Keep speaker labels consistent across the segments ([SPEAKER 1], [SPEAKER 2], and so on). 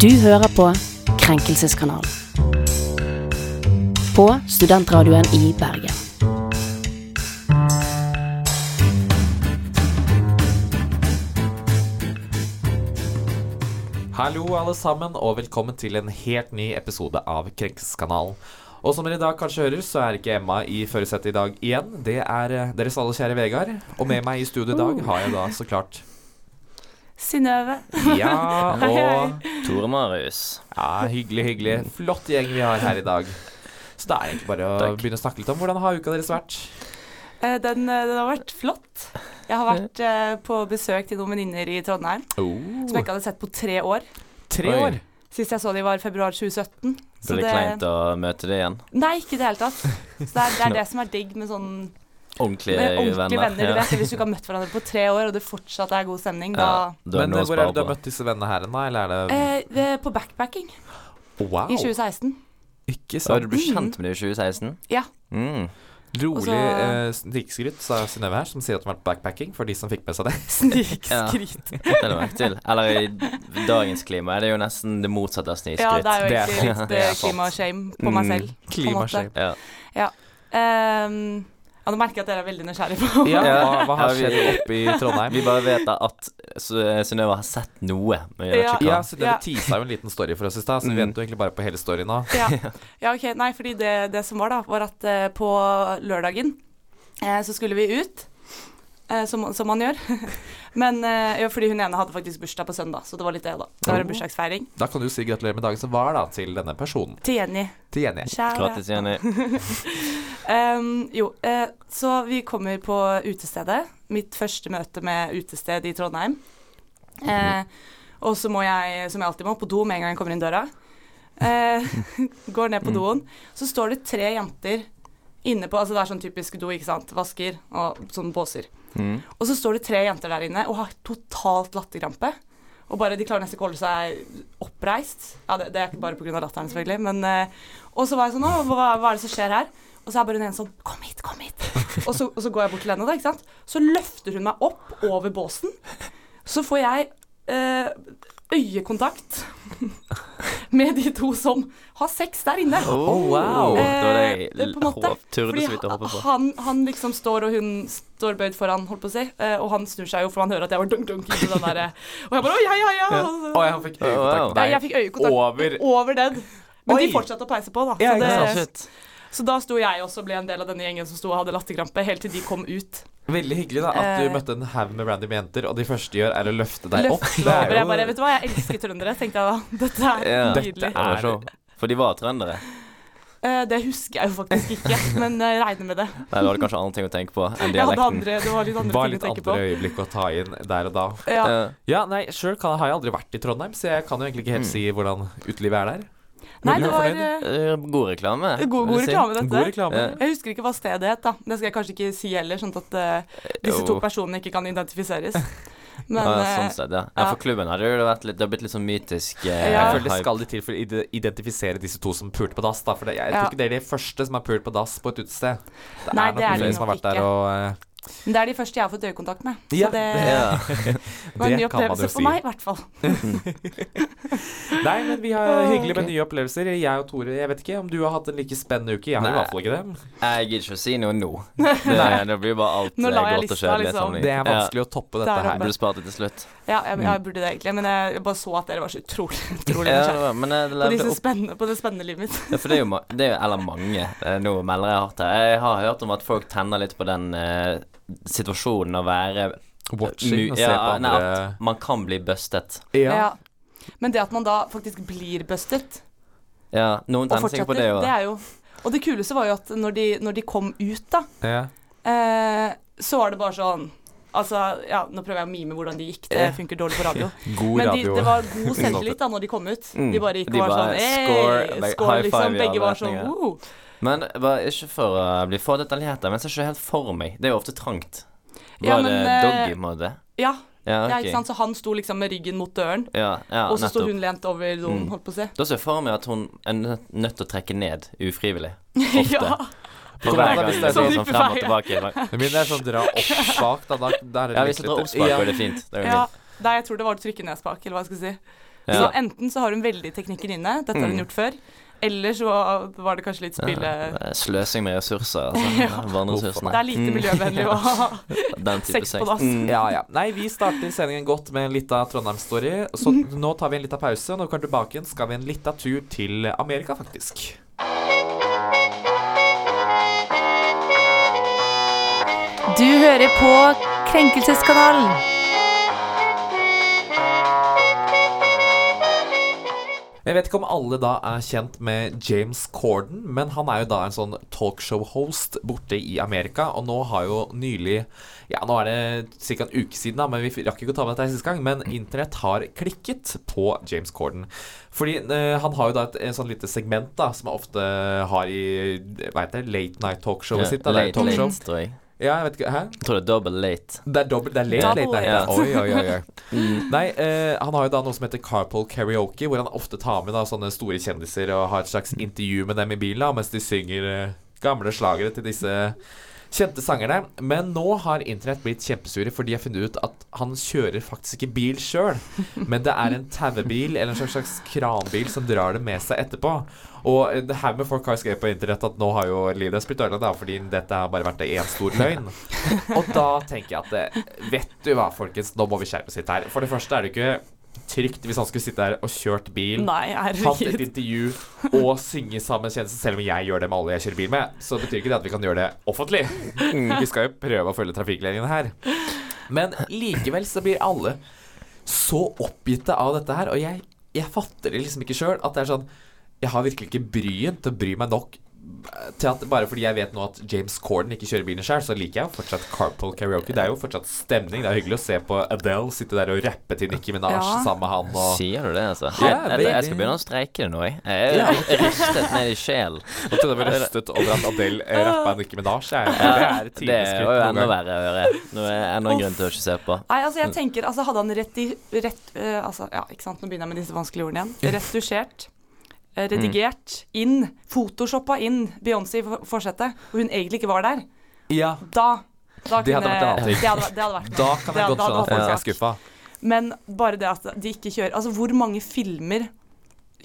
[SPEAKER 1] Du hører på Krenkelseskanalen. På studentradioen i Bergen.
[SPEAKER 2] Hallo alle sammen, og velkommen til en helt ny episode av Krenkelseskanalen. Og som dere i dag kanskje hører, så er ikke Emma i førersetet i dag igjen. Det er eh, deres alle kjære Vegard. Og med meg i studio i
[SPEAKER 3] Oh.
[SPEAKER 2] dag har jeg da så klart
[SPEAKER 3] Synnøve.
[SPEAKER 2] Ja,
[SPEAKER 3] Hei, hei.
[SPEAKER 2] og
[SPEAKER 4] Tore Marius.
[SPEAKER 2] ja, Hyggelig, hyggelig. Flott gjeng vi har her i dag. Så det er egentlig bare å
[SPEAKER 4] Takk.
[SPEAKER 2] begynne å snakke litt om hvordan har uka deres vært.
[SPEAKER 3] Eh, Den, eh, den har vært flott. Jeg har vært eh, på besøk til noen venninner i Trondheim som jeg ikke hadde sett på tre år.
[SPEAKER 2] Tre
[SPEAKER 4] Oi.
[SPEAKER 2] år.
[SPEAKER 3] Sist jeg så dem var i februar 2017.
[SPEAKER 4] Så det er kleint å møte deg igjen.
[SPEAKER 3] Nei, ikke i det hele tatt. Så det er, det er det som er digg med sånn med
[SPEAKER 4] Ordentlige,
[SPEAKER 3] ordentlige venner.
[SPEAKER 4] venner.
[SPEAKER 3] Du vet, Hvis du ikke har møtt hverandre på tre år, og det fortsatt er god stemning,
[SPEAKER 4] Ja.
[SPEAKER 3] da
[SPEAKER 4] Du har
[SPEAKER 2] Men
[SPEAKER 4] noe
[SPEAKER 2] eh,
[SPEAKER 4] å
[SPEAKER 2] hvor er
[SPEAKER 4] spare
[SPEAKER 2] det du har
[SPEAKER 4] på.
[SPEAKER 2] møtt disse vennene her, da? Eller er det
[SPEAKER 3] eh, det- På backpacking
[SPEAKER 2] Wow.
[SPEAKER 3] i 2016.
[SPEAKER 2] Ikke
[SPEAKER 4] Så
[SPEAKER 2] sant.
[SPEAKER 4] du ble kjent med dem i 2016?
[SPEAKER 3] Mm. Ja.
[SPEAKER 4] Mm.
[SPEAKER 2] Rolig
[SPEAKER 3] Og så-
[SPEAKER 2] eh, snikskryt, sa Synnøve her, som sier at hun har vært backpacking, for de som fikk med seg det.
[SPEAKER 3] Snikskryt.
[SPEAKER 4] Det la jeg merke til. Eller i dagens klima er det jo nesten det motsatte av
[SPEAKER 3] Ja,
[SPEAKER 4] snikskryt.
[SPEAKER 3] det er jo
[SPEAKER 2] Det er
[SPEAKER 3] egentlig
[SPEAKER 2] sant.
[SPEAKER 3] litt
[SPEAKER 2] Det er
[SPEAKER 3] eh,
[SPEAKER 2] sant.
[SPEAKER 3] klimashame på meg
[SPEAKER 4] Mm.
[SPEAKER 3] selv. på en måte.
[SPEAKER 2] Klimashame.
[SPEAKER 4] Ja.
[SPEAKER 3] Ehm, ja, nå merker jeg at dere er veldig nysgjerrige på
[SPEAKER 2] Ja, hva,
[SPEAKER 4] Ja.
[SPEAKER 2] hva har
[SPEAKER 4] Ja, vi-
[SPEAKER 2] skjedd oppe i Trondheim?
[SPEAKER 4] Vi bare vet da at Sy- Synnøve har sett noe, men vi vet
[SPEAKER 3] Ah, Ja.
[SPEAKER 4] ikke hva.
[SPEAKER 2] Ja, så Dere
[SPEAKER 3] Ja.
[SPEAKER 2] teasa jo en liten story for oss i stad, så vi
[SPEAKER 4] Mm.
[SPEAKER 2] venter jo egentlig bare på hele storyen nå.
[SPEAKER 3] Ja, ja ok. Nei, fordi det, det som var, da, var at eh, på lørdagen eh, så skulle vi ut. eh, som, som man gjør. Men eh, ja, fordi hun ene hadde faktisk bursdag på søndag, så det var litt det, da. Det var en
[SPEAKER 2] Oh.
[SPEAKER 3] bursdagsfeiring.
[SPEAKER 2] Da kan du si gratulerer med dagen som var, da, til denne personen.
[SPEAKER 3] Til Jenny.
[SPEAKER 2] Til Jenny.
[SPEAKER 3] Kjære.
[SPEAKER 4] Grattis, Jenny.
[SPEAKER 3] Ehm, jo, eh, så vi kommer på utestedet. Mitt første møte med utested i Trondheim. Eh, og så må jeg, som jeg alltid må, på do med en gang jeg kommer inn døra. Eh, går ned på doen. Så står det tre jenter inne på Altså det er sånn typisk do, ikke sant. Vasker og sånn båser.
[SPEAKER 4] Mm.
[SPEAKER 3] Og så står det tre jenter der inne og har totalt latterkrampe. Og bare, De klarer nesten ikke å holde seg oppreist. Ja, Det, det er ikke bare pga. latteren, selvfølgelig. Men, eh, og så var jeg sånn «Å, hva, hva er det som skjer her? Og så er bare hun ene sånn Kom hit, kom hit. Og så, og så går jeg bort til henne, da, ikke sant. Så løfter hun meg opp over båsen. Så får jeg eh, øyekontakt med de to som har sex der inne.
[SPEAKER 4] Oh, wow. Det var det
[SPEAKER 3] Eh,
[SPEAKER 4] jeg
[SPEAKER 3] på en måte.
[SPEAKER 4] håp- turde så
[SPEAKER 3] Fordi
[SPEAKER 4] vidt å håpe på.
[SPEAKER 3] Han, han liksom står, og hun står bøyd foran, holdt på å si, eh, og han snur seg jo, for han hører at jeg var dunk-dunk inni den derre Og jeg bare oi, hei, hei, ja. Og så-
[SPEAKER 2] Å, jeg fikk
[SPEAKER 4] Wow.
[SPEAKER 2] øyekontakt
[SPEAKER 3] ja, jeg
[SPEAKER 2] med deg.
[SPEAKER 3] fikk øyekontakt
[SPEAKER 2] Over
[SPEAKER 3] over den. Men
[SPEAKER 2] Oi.
[SPEAKER 3] de fortsatte å peise på, da.
[SPEAKER 2] Ja,
[SPEAKER 3] Så,
[SPEAKER 2] ikke
[SPEAKER 3] det,
[SPEAKER 2] sant.
[SPEAKER 3] så da sto jeg også og ble en del av denne gjengen som sto og hadde latterkrampe, helt til de kom ut.
[SPEAKER 2] Veldig hyggelig da at du
[SPEAKER 3] Eh.
[SPEAKER 2] møtte en haug med random jenter, og de første gjør, er å løfte deg opp.
[SPEAKER 3] Løftet
[SPEAKER 2] Det
[SPEAKER 3] over. Jeg
[SPEAKER 2] er
[SPEAKER 3] bare
[SPEAKER 2] jo
[SPEAKER 3] Vet du hva, jeg elsker trøndere, tenkte jeg da. Dette
[SPEAKER 4] Ja.
[SPEAKER 3] er
[SPEAKER 4] Det
[SPEAKER 3] nydelig.
[SPEAKER 4] var så- For de var trøndere.
[SPEAKER 3] Eh, Det husker jeg jo faktisk ikke, men jeg regner med det.
[SPEAKER 4] Nei, du hadde kanskje andre ting å tenke på enn
[SPEAKER 3] Jeg hadde
[SPEAKER 4] dialekten.
[SPEAKER 3] andre, det var litt andre
[SPEAKER 2] var
[SPEAKER 3] ting
[SPEAKER 2] litt
[SPEAKER 3] å tenke på.
[SPEAKER 2] andre Eh, øyeblikk å ta inn der og da.
[SPEAKER 3] Ja.
[SPEAKER 4] Ja.
[SPEAKER 2] Ja, nei, sjøl har jeg aldri vært i Trondheim, så jeg kan jo egentlig ikke helt si hvordan utelivet er der.
[SPEAKER 3] Nei,
[SPEAKER 2] Men
[SPEAKER 3] det
[SPEAKER 2] du er
[SPEAKER 3] var
[SPEAKER 2] fornøyd?
[SPEAKER 3] eh,
[SPEAKER 4] Eh, God
[SPEAKER 3] god,
[SPEAKER 4] reklame. vil
[SPEAKER 3] god
[SPEAKER 4] jeg si. Eh,
[SPEAKER 3] reklame, dette.
[SPEAKER 2] God reklame.
[SPEAKER 4] Ja.
[SPEAKER 3] Jeg husker ikke hva stedet het, da. Det skal jeg kanskje ikke si heller, sånn at eh, disse to
[SPEAKER 4] Jo.
[SPEAKER 3] personene ikke kan identifiseres. Men
[SPEAKER 4] ja,
[SPEAKER 3] eh,
[SPEAKER 4] sånn sett, ja. ja.
[SPEAKER 3] ja.
[SPEAKER 4] For klubben hadde jo vært litt, det har blitt litt sånn mytisk eh,
[SPEAKER 3] Ja.
[SPEAKER 2] Jeg føler det
[SPEAKER 4] hype.
[SPEAKER 2] skal litt til for å ide- identifisere disse to som pulte på dass. Da, for det, jeg
[SPEAKER 3] Ja.
[SPEAKER 2] tror ikke det er de første som har pult på dass på et utested. Det
[SPEAKER 3] Nei, det er
[SPEAKER 2] noen
[SPEAKER 3] det
[SPEAKER 2] som har vært
[SPEAKER 3] nok
[SPEAKER 2] der
[SPEAKER 3] ikke.
[SPEAKER 2] og eh,
[SPEAKER 3] men det er de første jeg har fått øyekontakt med. Så
[SPEAKER 2] Ja,
[SPEAKER 3] det
[SPEAKER 4] Ja.
[SPEAKER 3] var en ny
[SPEAKER 2] det kan man
[SPEAKER 3] opplevelse
[SPEAKER 2] jo si.
[SPEAKER 3] for meg, i hvert fall.
[SPEAKER 2] Nei, men vi har hyggelig med
[SPEAKER 4] Ok.
[SPEAKER 2] nye opplevelser. Jeg og Tore, jeg vet ikke om du har hatt en like spennende uke. Jeg har i
[SPEAKER 4] Nei.
[SPEAKER 2] hvert fall ikke det.
[SPEAKER 4] Jeg gidder ikke å si noe nå. Det, det blir bare alt
[SPEAKER 3] Nå
[SPEAKER 4] eh,
[SPEAKER 3] la jeg
[SPEAKER 4] grått og
[SPEAKER 3] lista,
[SPEAKER 4] kjedelig.
[SPEAKER 3] liksom.
[SPEAKER 4] sammenlignet.
[SPEAKER 2] Det er vanskelig å toppe dette
[SPEAKER 3] Der
[SPEAKER 4] Ja, jeg
[SPEAKER 2] her.
[SPEAKER 4] burde spart det til slutt.
[SPEAKER 3] Ja, jeg, jeg burde det egentlig, men jeg, jeg bare så at dere var så utrolig utrolig
[SPEAKER 4] Ja, det
[SPEAKER 3] nysgjerrige.
[SPEAKER 4] var- men eh, det
[SPEAKER 3] På,
[SPEAKER 4] levde
[SPEAKER 3] disse
[SPEAKER 4] opp.
[SPEAKER 3] spennende- på det spennende livet mitt.
[SPEAKER 4] Ja, for det er jo ma det er, jo- Eller mange. eh, Nå melder jeg hardt her. Jeg har hørt om at folk tenner litt på den eh, situasjonen å være
[SPEAKER 2] Watching og se på
[SPEAKER 4] Ja, nei,
[SPEAKER 2] andre
[SPEAKER 4] at man kan bli bustet.
[SPEAKER 2] Ja.
[SPEAKER 3] Men det at man da faktisk blir bustet,
[SPEAKER 4] Ja, noen
[SPEAKER 3] og
[SPEAKER 4] tenner sikkert på
[SPEAKER 3] fortsetter,
[SPEAKER 4] det
[SPEAKER 3] det
[SPEAKER 4] òg.
[SPEAKER 3] er jo Og det kuleste var jo at når de, når de kom ut, da,
[SPEAKER 2] ja.
[SPEAKER 3] eh, så var det bare sånn Altså, ja, nå prøver jeg å mime hvordan de gikk, det funker dårlig på radio.
[SPEAKER 2] God
[SPEAKER 3] Men de,
[SPEAKER 2] radio.
[SPEAKER 3] det var god selvtillit da når de kom ut.
[SPEAKER 4] Mm.
[SPEAKER 3] De bare gikk
[SPEAKER 4] De
[SPEAKER 3] og var
[SPEAKER 4] bare
[SPEAKER 3] sånn hey,
[SPEAKER 4] score,
[SPEAKER 3] score,
[SPEAKER 4] like, high five
[SPEAKER 3] liksom.
[SPEAKER 4] i alle
[SPEAKER 3] Begge var sånn
[SPEAKER 4] retninger.
[SPEAKER 3] wow.
[SPEAKER 4] Men bare ikke for å bli for detaljert, her, men jeg ser ikke helt for meg. Det er jo ofte trangt. Var
[SPEAKER 3] Ja, men,
[SPEAKER 4] det
[SPEAKER 3] eh,
[SPEAKER 4] doggy, på en måte?
[SPEAKER 3] Ja,
[SPEAKER 4] Ja,
[SPEAKER 3] ja,
[SPEAKER 4] ok.
[SPEAKER 3] ikke sant? Så han sto liksom med ryggen mot døren,
[SPEAKER 4] Ja, ja,
[SPEAKER 3] og så sto
[SPEAKER 4] nettopp.
[SPEAKER 3] hun lent over doen,
[SPEAKER 4] Mm.
[SPEAKER 3] holdt på å si.
[SPEAKER 4] Da ser jeg for meg at hun er nødt nødt til å trekke ned ufrivillig.
[SPEAKER 3] ja.
[SPEAKER 4] For
[SPEAKER 2] kommer
[SPEAKER 4] hver
[SPEAKER 2] an på
[SPEAKER 4] gang
[SPEAKER 2] hvis det
[SPEAKER 4] det
[SPEAKER 2] er
[SPEAKER 4] blir
[SPEAKER 3] sånn
[SPEAKER 4] sånn
[SPEAKER 3] type
[SPEAKER 4] frem og
[SPEAKER 3] feil.
[SPEAKER 4] tilbake.
[SPEAKER 2] Men det er sånn dra opp svakt, da. da, da er det
[SPEAKER 4] Ja,
[SPEAKER 2] litt-
[SPEAKER 4] hvis jeg drar
[SPEAKER 2] litt-
[SPEAKER 4] opp spaken,
[SPEAKER 2] Ja.
[SPEAKER 4] er det fint. Det er jo
[SPEAKER 3] ja.
[SPEAKER 4] fint.
[SPEAKER 3] Nei, jeg tror det var å trykke ned spak, eller hva jeg skal si. Så
[SPEAKER 4] Ja. Mm.
[SPEAKER 3] enten så har hun veldig teknikker inne, dette har hun gjort før, eller så var det kanskje litt spille...
[SPEAKER 4] Eh, Sløsing med ressurser, altså. Vannressursene.
[SPEAKER 3] Det er lite miljøvennlig å ha
[SPEAKER 4] Den type Mm.
[SPEAKER 3] sex på dass.
[SPEAKER 2] Ja, ja. Nei, vi starter sendingen godt med en lita Trondheim-story. Så nå tar vi en lita pause. Når vi kommer tilbake, igjen, skal vi en lita tur til Amerika, faktisk.
[SPEAKER 5] Du hører på Krenkelseskanalen.
[SPEAKER 2] Men Jeg vet ikke om alle da er kjent med James Corden, men han er jo da en sånn talkshow-host borte i Amerika, og nå har jo nylig Ja, nå er det ca. en uke siden, da, men vi rakk ikke å ta med dette her sist gang, men internett har klikket på James Corden. Fordi eh, han har jo da et, et sånn lite segment da, som han ofte har i hva heter det, late night talkshowet sitt. Da, det er
[SPEAKER 4] Late,
[SPEAKER 2] jo talkshow.
[SPEAKER 4] late, tror jeg.
[SPEAKER 2] Ja, jeg vet ikke, hæ?
[SPEAKER 4] Jeg tror det er double late.
[SPEAKER 2] Det er dobbelt, det er late, late
[SPEAKER 3] Double
[SPEAKER 2] night.
[SPEAKER 4] late.
[SPEAKER 2] da. Oi, oi, oi, oi. Nei, eh, han har jo da noe som heter Carpool Karaoke, hvor han ofte tar med da sånne store kjendiser og har et slags intervju med dem i bilen da, mens de synger eh, gamle slagere til disse kjente sangerne. Men nå har internett blitt kjempesure, for de har funnet ut at han kjører faktisk ikke bil sjøl, men det er en tauebil eller en slags, slags kranbil som drar det med seg etterpå. Og eh, det her med folk har jo skrevet på internett at nå har jo livet deres blitt ødelagt, da, fordi dette har bare vært en stor løgn. Og da tenker jeg at eh, Vet du hva, folkens, nå må vi skjerpe oss litt her. For det første er det jo ikke trygt hvis han skulle sitte her og kjørt bil.
[SPEAKER 3] Nei,
[SPEAKER 2] Hatt et
[SPEAKER 3] herregud.
[SPEAKER 2] intervju og synge sammen kjennelsen, selv om jeg gjør det med alle jeg kjører bil med. Så betyr ikke det at vi kan gjøre det offentlig.
[SPEAKER 3] Mm.
[SPEAKER 2] Vi skal jo prøve å følge trafikkreglene her. Men likevel så blir alle så oppgitte av dette her, og jeg, jeg fatter det liksom ikke sjøl. At det er sånn Jeg har virkelig ikke bryen til å bry meg nok eh, til at bare fordi jeg vet nå at James Corden ikke kjører bilen sjøl, så liker jeg jo fortsatt Carpool Karaoke. Det er jo fortsatt stemning. Det er hyggelig å se på Adele sitte der og rappe til Nicki Minaj
[SPEAKER 3] Ja.
[SPEAKER 2] sammen med han og
[SPEAKER 4] Sier du det, altså?
[SPEAKER 2] Ja,
[SPEAKER 4] jeg, jeg, jeg
[SPEAKER 2] veldig.
[SPEAKER 4] skal begynne å streike det nå, jeg. Jeg er rystet ned i sjel.
[SPEAKER 2] Jeg trodde jeg ble røstet over at Adele eh,
[SPEAKER 3] Ah.
[SPEAKER 2] rappa Nicki Minaj. jeg. Det er
[SPEAKER 4] Det
[SPEAKER 2] tidlig skritt.
[SPEAKER 4] var jo
[SPEAKER 2] noen
[SPEAKER 4] enda
[SPEAKER 2] gang.
[SPEAKER 4] verre å høre. Nå er det enda en grunn til å ikke se på.
[SPEAKER 3] Nei, altså
[SPEAKER 2] Mm.
[SPEAKER 3] jeg tenker, altså hadde han rett i, rett, eh, altså, ja, ikke sant, nå begynner jeg med disse vanskelige ordene igjen. Retusjert,
[SPEAKER 2] Mm.
[SPEAKER 3] eh, redigert, inn, photoshoppa inn Beyoncé i for- forsetet, og hun egentlig ikke var der,
[SPEAKER 2] Ja,
[SPEAKER 3] da, da
[SPEAKER 2] Det hadde vært en annen ting.
[SPEAKER 3] Det hadde, vært- det hadde vært
[SPEAKER 2] da kan jeg
[SPEAKER 3] Det-
[SPEAKER 2] godt
[SPEAKER 3] da-
[SPEAKER 2] skjønne at
[SPEAKER 3] da-
[SPEAKER 2] folk
[SPEAKER 3] ja.
[SPEAKER 2] er skuffa.
[SPEAKER 3] Men bare det at de ikke kjører Altså, hvor mange filmer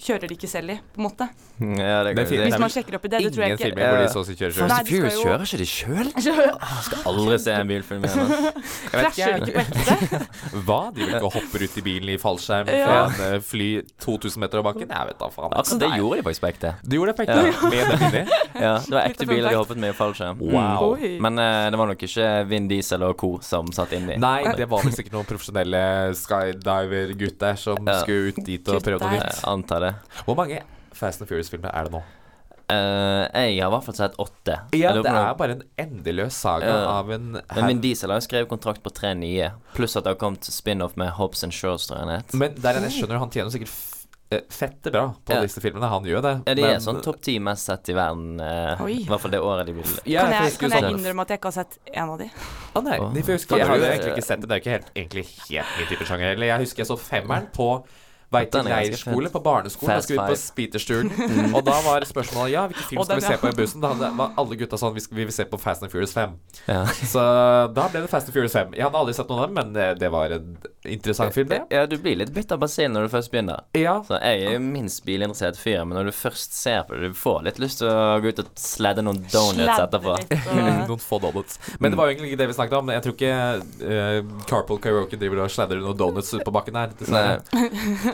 [SPEAKER 3] kjører de ikke selv i, på en måte?
[SPEAKER 4] Ja, det,
[SPEAKER 2] Det er
[SPEAKER 4] kan-
[SPEAKER 2] fint.
[SPEAKER 4] det,
[SPEAKER 3] Hvis man sjekker opp i det, det tror jeg
[SPEAKER 2] Ingen
[SPEAKER 3] ikke
[SPEAKER 2] filmer hvor de så å si kjører sjøl.
[SPEAKER 4] Fast
[SPEAKER 3] Nei,
[SPEAKER 4] and
[SPEAKER 3] de skal
[SPEAKER 4] Furious
[SPEAKER 3] jo-
[SPEAKER 4] kjører ikke de sjøl? Skal aldri se en bilfilm igjen. altså.
[SPEAKER 3] Krasjer de ikke på ekte?
[SPEAKER 2] Hva? De vil ikke hoppe ut i bilen i fallskjerm fra
[SPEAKER 3] Ja.
[SPEAKER 2] en eh, fly 2000 meter over bakken? Jeg vet da faen.
[SPEAKER 4] Altså, det gjorde de faktisk på ekte.
[SPEAKER 2] Du gjorde det på ekte. Med den inni.
[SPEAKER 4] Ja, det var ekte
[SPEAKER 3] Litt av
[SPEAKER 4] biler de
[SPEAKER 3] fun fact.
[SPEAKER 4] hoppet med i fallskjerm.
[SPEAKER 2] Wow.
[SPEAKER 3] Oi.
[SPEAKER 4] Men eh, det var nok ikke Vin Diesel og co. som satt inni.
[SPEAKER 2] Nei, det var vel sikkert noen profesjonelle skydiver-gutter som
[SPEAKER 4] Ja.
[SPEAKER 2] skulle ut dit og prøve noe
[SPEAKER 3] Gutter.
[SPEAKER 2] nytt.
[SPEAKER 4] Jeg Eh, antar det.
[SPEAKER 2] Hvor mange Fast and Furious-filmer er det nå?
[SPEAKER 4] Eh, jeg har i hvert fall sett åtte.
[SPEAKER 2] Ja,
[SPEAKER 4] Jeg lurer på
[SPEAKER 2] det
[SPEAKER 4] om-
[SPEAKER 2] er bare en endeløs saga
[SPEAKER 4] Ja.
[SPEAKER 2] av en
[SPEAKER 4] Men
[SPEAKER 2] haug
[SPEAKER 4] Vin Diesel har jo skrevet kontrakt på tre nye, pluss at det har kommet spin-off med Hobbs and Shores, tror jeg han het.
[SPEAKER 2] Men der er det, jeg skjønner, han tjener sikkert f- eh, fette bra på
[SPEAKER 4] Ja.
[SPEAKER 2] disse filmene. Han gjør det.
[SPEAKER 4] Ja, de er
[SPEAKER 2] men-
[SPEAKER 4] sånn topp ti mest sett i verden, eh,
[SPEAKER 3] Oi.
[SPEAKER 4] i hvert fall det året de vil.
[SPEAKER 2] Ja,
[SPEAKER 3] Kan
[SPEAKER 2] for
[SPEAKER 3] jeg,
[SPEAKER 2] skulle
[SPEAKER 3] kan jeg
[SPEAKER 2] sånn-
[SPEAKER 3] innrømme at jeg ikke har sett en av de?
[SPEAKER 2] Å nei,
[SPEAKER 4] Åh.
[SPEAKER 2] de får huske
[SPEAKER 4] Kan
[SPEAKER 2] Jeg har
[SPEAKER 4] du-
[SPEAKER 2] jo egentlig ikke sett det. Det er jo ikke helt, egentlig helt min type sjanger heller. Jeg husker jeg så femmeren på vei til
[SPEAKER 4] Den er ganske
[SPEAKER 2] leirskole,
[SPEAKER 4] fet.
[SPEAKER 2] på barneskolen. Da
[SPEAKER 4] Fast
[SPEAKER 2] skulle vi på Speedersturen. Og da var spørsmålet ja, hvilken film
[SPEAKER 3] Og
[SPEAKER 2] skal
[SPEAKER 3] den,
[SPEAKER 2] vi se på i bussen? Da hadde, var alle gutta sånn vi, skal, vi vil se på Fast and Furious 5.
[SPEAKER 4] Ja.
[SPEAKER 2] Så da ble det Fast and Furious 5. Jeg hadde aldri sett noen av dem, men eh, det var en interessant film, det.
[SPEAKER 4] Ja, du blir litt bitt av basillen når du først begynner.
[SPEAKER 2] Ja.
[SPEAKER 4] Så jeg er jo minst bilinteressert fyr, men når du først ser på det, du får litt lyst til å gå ut og sledde noen donuts
[SPEAKER 3] Sladder
[SPEAKER 4] etterpå.
[SPEAKER 3] litt og-
[SPEAKER 2] Noen få donuts. Men det var jo egentlig ikke det vi snakket om. Jeg tror ikke eh, Carpool Karaoke driver og sladder noen donuts ute på bakken her. Dessverre.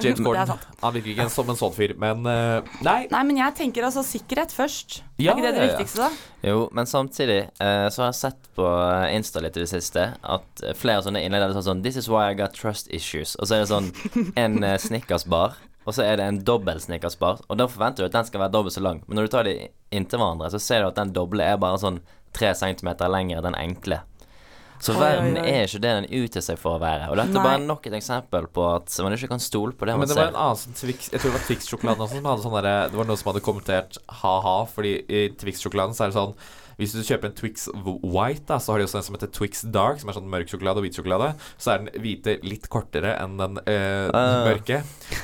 [SPEAKER 2] James Corden.
[SPEAKER 3] sant.
[SPEAKER 2] Han virker ikke som en sånn fyr, men eh, Nei,
[SPEAKER 3] Nei, men jeg tenker altså sikkerhet først.
[SPEAKER 2] Ja,
[SPEAKER 3] er ikke det det
[SPEAKER 2] ja, ja.
[SPEAKER 3] viktigste, da?
[SPEAKER 4] Jo, men samtidig eh, så har jeg sett på eh, Insta litt i det siste at eh, flere sånne innledere sånn sånn This is why I got trust issues. Og så er det sånn en eh, snickersbar, og så er det en dobbel snickersbar. Og da forventer du at den skal være dobbelt så lang, men når du tar de inntil hverandre, så ser du at den doble er bare sånn tre centimeter lengre enn den enkle. Så
[SPEAKER 3] Oi,
[SPEAKER 4] verden
[SPEAKER 3] oi, oi.
[SPEAKER 4] er ikke det den utgir seg for å være. Og dette er
[SPEAKER 3] Nei.
[SPEAKER 4] bare nok et eksempel på at man ikke kan stole på det
[SPEAKER 2] Men
[SPEAKER 4] man
[SPEAKER 2] det var
[SPEAKER 4] ser.
[SPEAKER 2] en annen som Twix Jeg tror det var Twix-sjokoladen også som hadde sånn derre Det var noen som hadde kommentert ha-ha, fordi i Twix-sjokoladen så er det sånn hvis du kjøper en Twix White, da, så har de også en som heter Twix Dark, som er sånn mørk sjokolade og hvit sjokolade. Så er den hvite litt kortere enn den eh,
[SPEAKER 4] Ah.
[SPEAKER 2] mørke.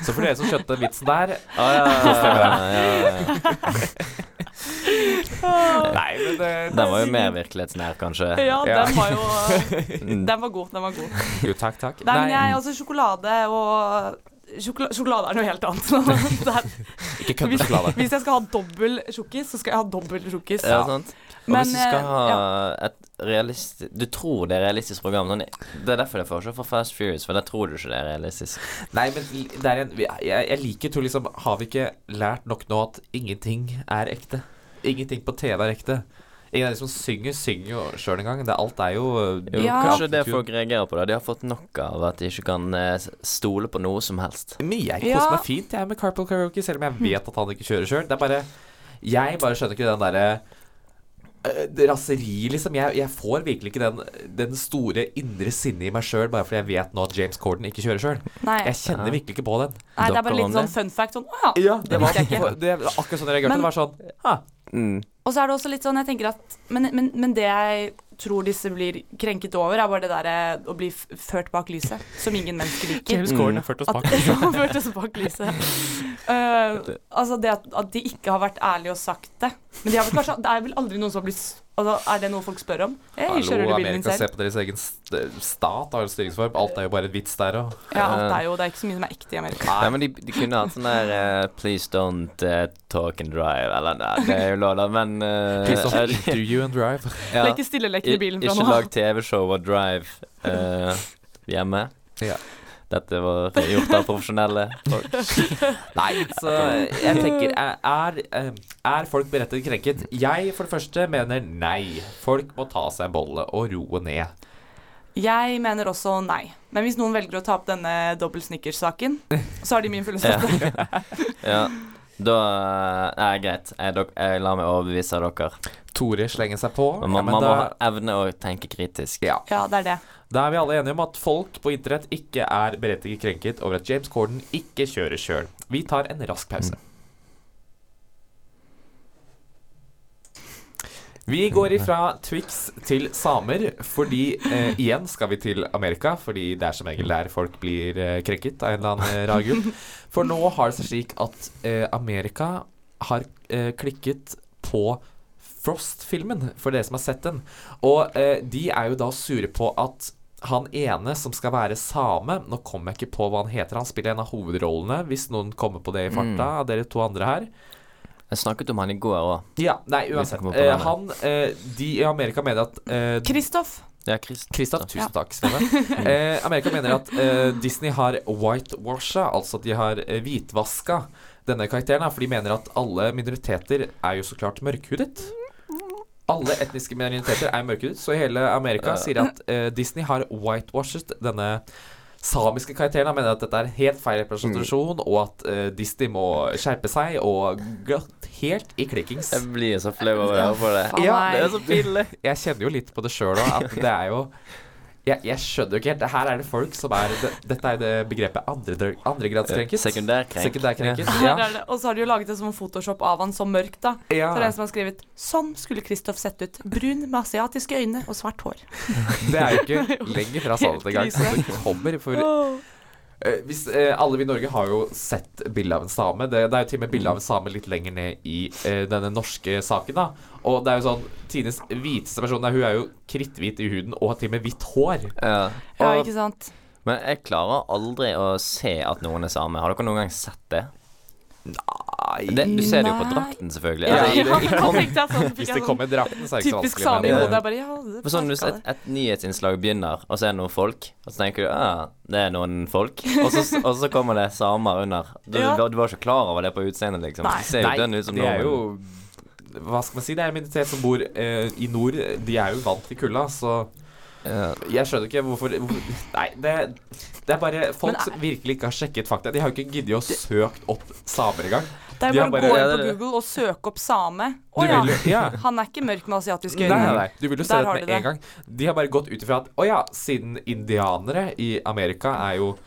[SPEAKER 2] Så for dere som skjønte vitsen der
[SPEAKER 4] Ah, ja, ja, ja, ja, ja.
[SPEAKER 2] Nei, men eh, det,
[SPEAKER 4] Den var jo mer virkelighetsnær, kanskje.
[SPEAKER 3] Ja,
[SPEAKER 2] Ja.
[SPEAKER 3] den var jo Den var god. den var god.
[SPEAKER 2] Jo, takk, takk.
[SPEAKER 3] Nei, men jeg, altså sjokolade og Sjokola sjokolade er noe helt annet. Det er-
[SPEAKER 2] Ikke kødd med
[SPEAKER 3] hvis,
[SPEAKER 2] sjokolade.
[SPEAKER 3] hvis jeg skal ha dobbel sjokkis, så skal jeg ha dobbel sjokkis.
[SPEAKER 4] Ja,
[SPEAKER 2] sånn.
[SPEAKER 4] sant? Og
[SPEAKER 3] Men,
[SPEAKER 4] hvis du
[SPEAKER 3] eh,
[SPEAKER 4] skal ha et realistisk Du tror det er realistisk program. Sånn, det er derfor jeg får ikke fra Fast Furious, for der tror du ikke det er realistisk.
[SPEAKER 2] Nei, men det er en, jeg, jeg liker to liksom Har vi ikke lært nok nå at ingenting er ekte? Ingenting på TV er ekte. Ingen av de som synger, synger jo sjøl engang. Det- Alt er jo
[SPEAKER 4] Jo,
[SPEAKER 3] Ja.
[SPEAKER 4] Kanskje det folk reagerer på det. De har fått nok av at de ikke kan eh, stole på noe som helst.
[SPEAKER 2] Mye. Jeg
[SPEAKER 3] Ja.
[SPEAKER 2] koser meg fint jeg med Carpool Karaoke, selv om jeg vet at han ikke kjører sjøl. Det er bare Jeg bare skjønner ikke den derre øh, det raseriet, liksom. Jeg, jeg får virkelig ikke den, den store indre sinnet i meg sjøl bare fordi jeg vet nå at James Corden ikke kjører sjøl.
[SPEAKER 3] Nei,
[SPEAKER 2] Jeg kjenner virkelig ikke på den.
[SPEAKER 3] nei, det er bare
[SPEAKER 4] Dere
[SPEAKER 3] litt
[SPEAKER 4] om
[SPEAKER 3] sånn
[SPEAKER 4] det?
[SPEAKER 3] fun fact. Sånn, å ja,
[SPEAKER 2] Ja, det,
[SPEAKER 3] det
[SPEAKER 2] var,
[SPEAKER 3] visste jeg ikke.
[SPEAKER 2] det var akkurat sånn jeg reagerte.
[SPEAKER 3] Men-
[SPEAKER 2] det var sånn «Ha,
[SPEAKER 4] Mm.
[SPEAKER 3] Og så er det også litt sånn, jeg tenker at Men, men, men det jeg tror disse blir krenket over, er bare det derre å bli f- ført bak lyset, som ingen mennesker liker.
[SPEAKER 2] James Corden har ført oss
[SPEAKER 3] At,
[SPEAKER 2] bak.
[SPEAKER 3] som førte oss bak lyset. Eh, altså det at, at de ikke har vært ærlige og sagt det. Men de har vel kanskje, det er vel aldri noen som har blitt s- altså, Er det noe folk spør om? Hey, kjører du
[SPEAKER 2] Hallo,
[SPEAKER 3] bilen din
[SPEAKER 2] Amerika, se
[SPEAKER 3] selv?
[SPEAKER 2] på deres egen st- stat har en styringsform. Alt er jo bare en vits der òg.
[SPEAKER 3] Ja, alt er jo, det er ikke så mye som er ekte i Amerika.
[SPEAKER 4] Nei, men de, de kunne hatt sånn der eh, Please don't eh, talk and drive, eller nei, det er jo lov, da, men eh,
[SPEAKER 2] Please don't
[SPEAKER 4] eh,
[SPEAKER 2] interview and drive.
[SPEAKER 4] ja,
[SPEAKER 3] Leke stilleleken i bilen fra
[SPEAKER 4] Ikke
[SPEAKER 3] nå
[SPEAKER 4] lag TV-show og drive eh, hjemme.
[SPEAKER 2] Ja.
[SPEAKER 4] Dette var gjort av profesjonelle folk.
[SPEAKER 2] Nei, så jeg tenker er, er, eh, er folk berettiget krenket? Jeg for det første mener nei. Folk må ta seg en bolle og roe ned.
[SPEAKER 3] Jeg mener også nei. Men hvis noen velger å ta opp denne dobbel snickers-saken, så har de min fulle
[SPEAKER 4] Ja.
[SPEAKER 3] støtte.
[SPEAKER 4] ja. Da eh, Nei, greit. Jeg, dok- jeg lar meg overbevise av dere.
[SPEAKER 2] Tore slenger seg på. Ja,
[SPEAKER 4] Men man,
[SPEAKER 2] men
[SPEAKER 4] man må
[SPEAKER 2] da,
[SPEAKER 4] ha evne å tenke kritisk.
[SPEAKER 2] ja.
[SPEAKER 3] Ja, det er det.
[SPEAKER 2] da er vi alle enige om at folk på internett ikke er berettiget krenket over at James Corden ikke kjører sjøl. Vi tar en rask pause. Vi går ifra Twix til samer, fordi eh, igjen skal vi til Amerika. Fordi det er som regel der folk blir eh, krenket av en eller annen eh, rar grunn. For nå har det seg slik at eh, Amerika har eh, klikket på Frost-filmen, for dere som har sett den. Og eh, de er jo da sure på at han ene som skal være same Nå kommer jeg ikke på hva han heter. Han spiller en av hovedrollene, hvis noen kommer på det i farta, av dere to andre her.
[SPEAKER 4] Jeg snakket om han i går òg.
[SPEAKER 2] Ja, nei,
[SPEAKER 4] Vi
[SPEAKER 2] uansett.
[SPEAKER 4] kommer på
[SPEAKER 2] Eh,
[SPEAKER 4] navnet.
[SPEAKER 2] han, eh, de i Amerika mener at eh,
[SPEAKER 3] Kristoff.
[SPEAKER 4] Ja, Chris.
[SPEAKER 2] Kristoff, tusen takk, Svenne. Eh, Amerika mener at eh, Disney har whitewasha, altså at de har eh, hvitvaska denne karakteren. da, For de mener at alle minoriteter er jo så klart mørkhudet. Alle etniske minoriteter er mørkhudet, så hele Amerika sier at eh, Disney har whitewashet denne samiske karakteren. Han mener at dette er helt feil representasjon, og at eh, Disney må skjerpe seg og gått helt i klikkings.
[SPEAKER 4] Jeg blir så flau over å høre på det.
[SPEAKER 2] Ja,
[SPEAKER 3] nei.
[SPEAKER 2] det er så pinlig. Jeg kjenner jo litt på det sjøl òg, at det er jo jeg, jeg skjønner jo ikke helt. Her er det folk som er det, Dette er jo det begrepet andre, andregradskrenket.
[SPEAKER 4] Eh, Sekundærkrenk.
[SPEAKER 2] Sekundærkrenket.
[SPEAKER 3] Her
[SPEAKER 2] Ja.
[SPEAKER 3] er det. Og så har de jo laget en sånn Photoshop av han som mørk, da.
[SPEAKER 2] Ja.
[SPEAKER 3] Så det er en som har skrevet Sånn skulle Kristoff sett ut. Brun med asiatiske øyne og svart hår.
[SPEAKER 2] Det er jo ikke lenger fra sannheten engang. Så det kommer for Eh, hvis, eh, alle vi i Norge har jo sett bilde av en same. Det, det er jo til og med bilde av en same litt lenger ned i eh, denne norske saken. da Og det er jo sånn Tines hviteste person der, hun er jo kritthvit i huden og har til og med hvitt hår.
[SPEAKER 4] Ja.
[SPEAKER 3] Ja,
[SPEAKER 2] Og-
[SPEAKER 3] ikke sant.
[SPEAKER 4] Men jeg klarer aldri å se at noen er same. Har dere noen gang sett det? det du ser det jo på
[SPEAKER 3] Nei.
[SPEAKER 4] drakten, selvfølgelig.
[SPEAKER 2] Ja.
[SPEAKER 4] Altså, i-
[SPEAKER 3] Ja, da tenkte jeg sånn, fikk
[SPEAKER 2] Hvis
[SPEAKER 3] jeg
[SPEAKER 2] det
[SPEAKER 3] sånn
[SPEAKER 2] kommer i drakten, så er det ikke så
[SPEAKER 3] Typisk
[SPEAKER 2] vanskelig.
[SPEAKER 3] same i
[SPEAKER 2] men-
[SPEAKER 4] det-
[SPEAKER 3] hodet. Jeg bare Ja, det
[SPEAKER 4] For sånn, hvis
[SPEAKER 3] merket
[SPEAKER 4] et, et nyhetsinnslag begynner, og så er det noen folk, og så tenker du ja, det er noen folk, og så, og så kommer det samer under. Du,
[SPEAKER 3] Ja.
[SPEAKER 4] du, du var ikke klar over det på utseendet, liksom.
[SPEAKER 3] Nei.
[SPEAKER 4] Det ser jo dønn ut som
[SPEAKER 2] det er
[SPEAKER 4] nordmenn.
[SPEAKER 2] jo Hva skal man si? Det er en minoritet som bor eh, i nord. De er jo vant til kulda, så
[SPEAKER 4] Ja.
[SPEAKER 2] jeg skjønner ikke hvorfor, hvorfor Nei, det, det er bare folk
[SPEAKER 3] Men er-
[SPEAKER 2] som virkelig ikke har sjekket fakta. De har jo ikke giddet å søkt opp samer engang.
[SPEAKER 3] Det er
[SPEAKER 2] de
[SPEAKER 3] jo
[SPEAKER 2] har
[SPEAKER 3] bare å gå inn
[SPEAKER 4] bare- Ja,
[SPEAKER 3] på
[SPEAKER 4] det er det.
[SPEAKER 3] Google og søke opp same. Å
[SPEAKER 2] Du
[SPEAKER 3] ja.
[SPEAKER 2] vil jo ja.
[SPEAKER 3] Han er ikke mørk med asiatiske
[SPEAKER 2] Nei, nei,
[SPEAKER 3] øyne.
[SPEAKER 2] nei. Du vil jo se
[SPEAKER 3] Der
[SPEAKER 2] det
[SPEAKER 3] har
[SPEAKER 2] med
[SPEAKER 3] du det.
[SPEAKER 2] en gang. De har bare gått ut ifra at å ja, siden indianere i Amerika er jo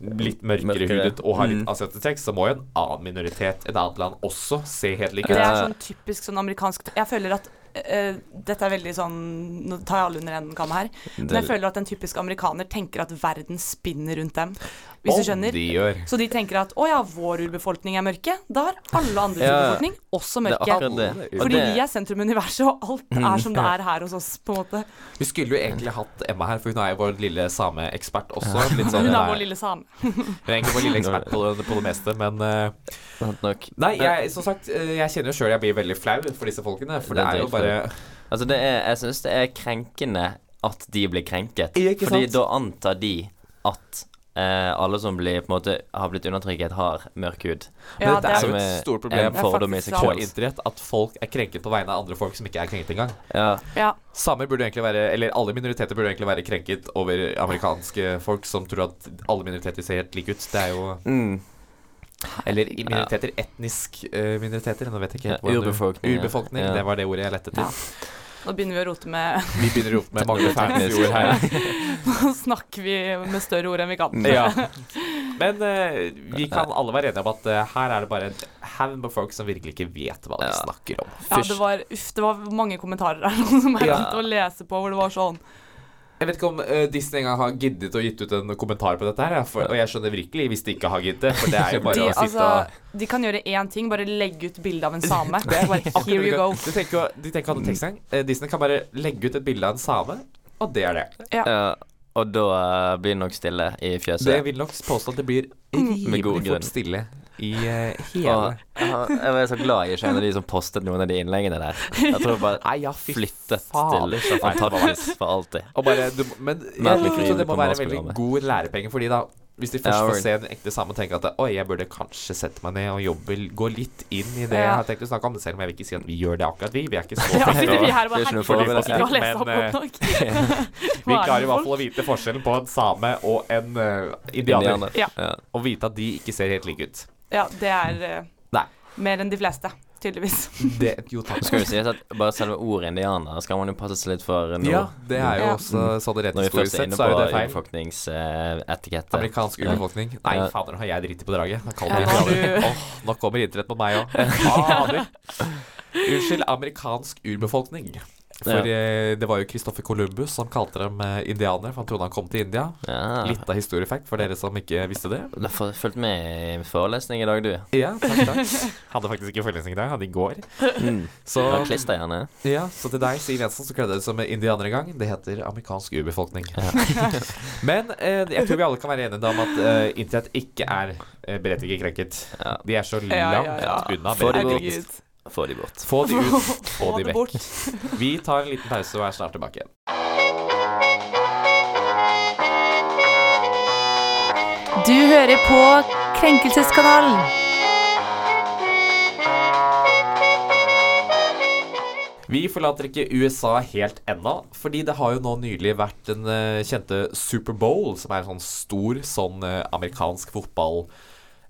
[SPEAKER 2] litt mørkere
[SPEAKER 4] Mørkere.
[SPEAKER 2] hudet og har litt
[SPEAKER 4] Mm.
[SPEAKER 2] asiatisk trekk, så må jo en annen minoritet, et annet land, også se helt lik
[SPEAKER 3] Det
[SPEAKER 2] ut.
[SPEAKER 3] er sånn typisk sånn amerikansk Jeg føler at eh, Dette er veldig sånn Nå tar jeg alle under en kam her. Men jeg føler at en typisk amerikaner tenker at verden spinner rundt dem. Hvis du skjønner.
[SPEAKER 2] De gjør.
[SPEAKER 3] Så de tenker at å ja, vår urbefolkning er mørke. Da er alle andres
[SPEAKER 4] Ja, ja.
[SPEAKER 3] urbefolkning også
[SPEAKER 4] Det er
[SPEAKER 3] mørke.
[SPEAKER 4] akkurat det. Og
[SPEAKER 3] Fordi
[SPEAKER 4] det,
[SPEAKER 3] vi er sentrum i universet, og alt er som det er her hos oss, på en måte.
[SPEAKER 2] Vi skulle jo egentlig hatt Emma her, for hun er jo vår lille sameekspert også. Litt sånn,
[SPEAKER 3] Hun er
[SPEAKER 2] nei,
[SPEAKER 3] vår lille same.
[SPEAKER 2] Hun er egentlig vår lille ekspert på det, på det meste, men eh,
[SPEAKER 4] sant nok.
[SPEAKER 2] Nei, jeg, som sagt, eh, jeg kjenner jo sjøl jeg blir veldig flau for disse folkene, for det
[SPEAKER 4] Det er
[SPEAKER 2] er jo
[SPEAKER 4] dritflaut.
[SPEAKER 2] bare
[SPEAKER 4] Altså, det er, jeg syns det er krenkende at de blir krenket.
[SPEAKER 2] Ja, ikke
[SPEAKER 4] Fordi
[SPEAKER 2] sant?
[SPEAKER 4] da antar de at eh, alle som blir, på en måte, har blitt undertrykket, har mørk hud.
[SPEAKER 3] Ja,
[SPEAKER 2] Men det
[SPEAKER 3] det
[SPEAKER 2] er
[SPEAKER 4] Som
[SPEAKER 2] jo
[SPEAKER 4] er
[SPEAKER 2] et stort
[SPEAKER 4] en
[SPEAKER 2] problem
[SPEAKER 3] Det er
[SPEAKER 4] fordom i
[SPEAKER 3] faktisk
[SPEAKER 4] seg
[SPEAKER 2] på
[SPEAKER 3] sant.
[SPEAKER 4] selv.
[SPEAKER 2] internett at folk er krenket på vegne av andre folk som ikke er krenket engang.
[SPEAKER 4] Ja.
[SPEAKER 3] Ja.
[SPEAKER 2] Samer burde egentlig være, eller alle minoriteter burde egentlig være krenket over amerikanske folk som tror at alle minoriteter ser helt like ut. Det er jo
[SPEAKER 4] Mm.
[SPEAKER 2] Eller i minoriteter, etnisk eh, minoriteter. Nå vet jeg ikke helt
[SPEAKER 4] Ja,
[SPEAKER 2] hvordan du-
[SPEAKER 4] urbefolkning, ja.
[SPEAKER 2] Urbefolkning,
[SPEAKER 4] Ja.
[SPEAKER 2] det var det ordet jeg lette etter.
[SPEAKER 3] Ja. Nå begynner vi å rote med
[SPEAKER 2] Vi begynner å rope med mange
[SPEAKER 4] Teknisk.
[SPEAKER 2] fæle ord her.
[SPEAKER 3] Nå snakker vi med større ord enn vi kan.
[SPEAKER 2] Ja. Men eh, vi kan alle være enige om at eh, her er det bare en haug med folk som virkelig ikke vet hva de
[SPEAKER 4] Ja.
[SPEAKER 2] snakker om.
[SPEAKER 3] Ja,
[SPEAKER 4] Fysj.
[SPEAKER 3] det var, uff, det var mange kommentarer her nå som jeg
[SPEAKER 2] Ja.
[SPEAKER 3] begynte å lese på, hvor det var sånn
[SPEAKER 2] Jeg vet ikke om eh, Disney engang har giddet å gitt ut en kommentar på dette her, ja, for, og jeg skjønner virkelig hvis de ikke har giddet, for det er jo bare
[SPEAKER 3] De,
[SPEAKER 2] å sitte
[SPEAKER 3] altså,
[SPEAKER 2] og
[SPEAKER 3] de kan gjøre én ting, bare legge ut bilde av en same. Bare,
[SPEAKER 2] Akkurat
[SPEAKER 3] here
[SPEAKER 2] det
[SPEAKER 3] you go.
[SPEAKER 2] kan- De tenker jo de tenker å ha en tekstgang. Eh, Disney kan bare legge ut et bilde av en same, og det er det.
[SPEAKER 4] Ja, og da eh, blir det nok stille i
[SPEAKER 2] Så jeg
[SPEAKER 4] fjøset.
[SPEAKER 2] vil nok påstå at det blir
[SPEAKER 4] Med god
[SPEAKER 2] rimelig
[SPEAKER 4] grunn.
[SPEAKER 2] fort stille i eh,
[SPEAKER 4] Og
[SPEAKER 2] hele
[SPEAKER 4] jeg var så glad jeg ikke er en av de som postet noen av de innleggene der. Jeg tror jeg bare
[SPEAKER 2] Nei, ja, fy
[SPEAKER 4] flyttet
[SPEAKER 2] fader,
[SPEAKER 4] til
[SPEAKER 2] så feil.
[SPEAKER 4] Antarktis for alltid.
[SPEAKER 2] Og bare, du, må- men jeg
[SPEAKER 4] Men at vi
[SPEAKER 2] tror
[SPEAKER 4] driver
[SPEAKER 2] det må
[SPEAKER 4] på
[SPEAKER 2] være
[SPEAKER 4] masterprogrammet.
[SPEAKER 2] veldig god lærepenge for de da. Hvis de først
[SPEAKER 4] Ja,
[SPEAKER 2] får
[SPEAKER 4] vel.
[SPEAKER 2] se en ekte same og tenker at Oi, jeg burde kanskje sette meg ned og jobbe, gå litt inn i det jeg
[SPEAKER 3] Ja.
[SPEAKER 2] har tenkt å snakke om. Selv om jeg vil ikke si at vi gjør det akkurat, vi. Vi er ikke så
[SPEAKER 3] Ja,
[SPEAKER 2] flinke
[SPEAKER 3] sitter
[SPEAKER 2] til
[SPEAKER 3] vi
[SPEAKER 2] å-
[SPEAKER 3] her og
[SPEAKER 4] Det er
[SPEAKER 3] bare
[SPEAKER 4] ikke noe
[SPEAKER 3] herregud,
[SPEAKER 4] forhold
[SPEAKER 3] vi har
[SPEAKER 2] til det,
[SPEAKER 3] lest opp
[SPEAKER 2] men, eh,
[SPEAKER 3] godt nok.
[SPEAKER 2] Vi
[SPEAKER 3] Hva
[SPEAKER 2] klarer
[SPEAKER 3] er
[SPEAKER 2] i
[SPEAKER 3] det for
[SPEAKER 2] hvert fall å vite forskjellen på en same og en eh, indianer.
[SPEAKER 4] Indianer.
[SPEAKER 3] Ja.
[SPEAKER 4] Ja.
[SPEAKER 2] Og vite at de ikke ser helt like ut.
[SPEAKER 3] Ja, det er eh,
[SPEAKER 2] Nei.
[SPEAKER 3] mer enn de fleste, tydeligvis.
[SPEAKER 2] Det, jo, takk.
[SPEAKER 4] Så skal jo sies at bare selve ordet indianer skal man jo passe seg litt for nå.
[SPEAKER 2] Ja, det er jo
[SPEAKER 3] Ja.
[SPEAKER 2] også sånn rett
[SPEAKER 4] Når vi
[SPEAKER 2] historisk
[SPEAKER 4] først er
[SPEAKER 2] sett,
[SPEAKER 4] inne
[SPEAKER 2] så
[SPEAKER 4] på
[SPEAKER 2] er jo det feil.
[SPEAKER 4] befolkningsetikette.
[SPEAKER 2] Amerikansk urbefolkning. Nei,
[SPEAKER 4] Ja.
[SPEAKER 2] fader, nå har jeg dritt på draget. Nå,
[SPEAKER 3] Ja,
[SPEAKER 2] kommer
[SPEAKER 3] nå har
[SPEAKER 2] jeg-
[SPEAKER 3] du-
[SPEAKER 2] Åh, nå kommer internett mot meg òg. Unnskyld, amerikansk urbefolkning. For
[SPEAKER 4] Ja.
[SPEAKER 2] eh, det var jo Christopher Columbus som kalte dem eh, indianere, for han trodde han kom til India.
[SPEAKER 4] Ja.
[SPEAKER 2] Litt av historiefact for dere som ikke visste det.
[SPEAKER 4] Du har fått- fulgt med i forelesning i dag, du.
[SPEAKER 2] Ja, takk, takk. Hadde faktisk ikke forelesning i dag, hadde i går.
[SPEAKER 4] Mm.
[SPEAKER 2] Så,
[SPEAKER 4] Og klister gjerne.
[SPEAKER 2] ja, så til deg, Siv Jensen, som kledde deg som indianer en gang, det heter amerikansk urbefolkning. Men eh, jeg tror vi alle kan være enige om at eh, internett ikke er eh, berettiget krenket.
[SPEAKER 4] Ja.
[SPEAKER 2] De er så langt
[SPEAKER 3] Ja, ja, ja.
[SPEAKER 2] unna.
[SPEAKER 4] Få de
[SPEAKER 2] berettiget.
[SPEAKER 4] bort.
[SPEAKER 3] Herregud.
[SPEAKER 4] Få de bort.
[SPEAKER 2] Få de ut, få
[SPEAKER 3] Få
[SPEAKER 2] de vekk.
[SPEAKER 3] det bort.
[SPEAKER 2] Vi tar en liten pause og er snart tilbake igjen.
[SPEAKER 5] Du hører på Krenkelseskanalen.
[SPEAKER 2] Vi forlater ikke USA helt ennå, fordi det har jo nå nylig vært den eh, kjente Superbowl, som er en sånn stor sånn eh, amerikansk fotball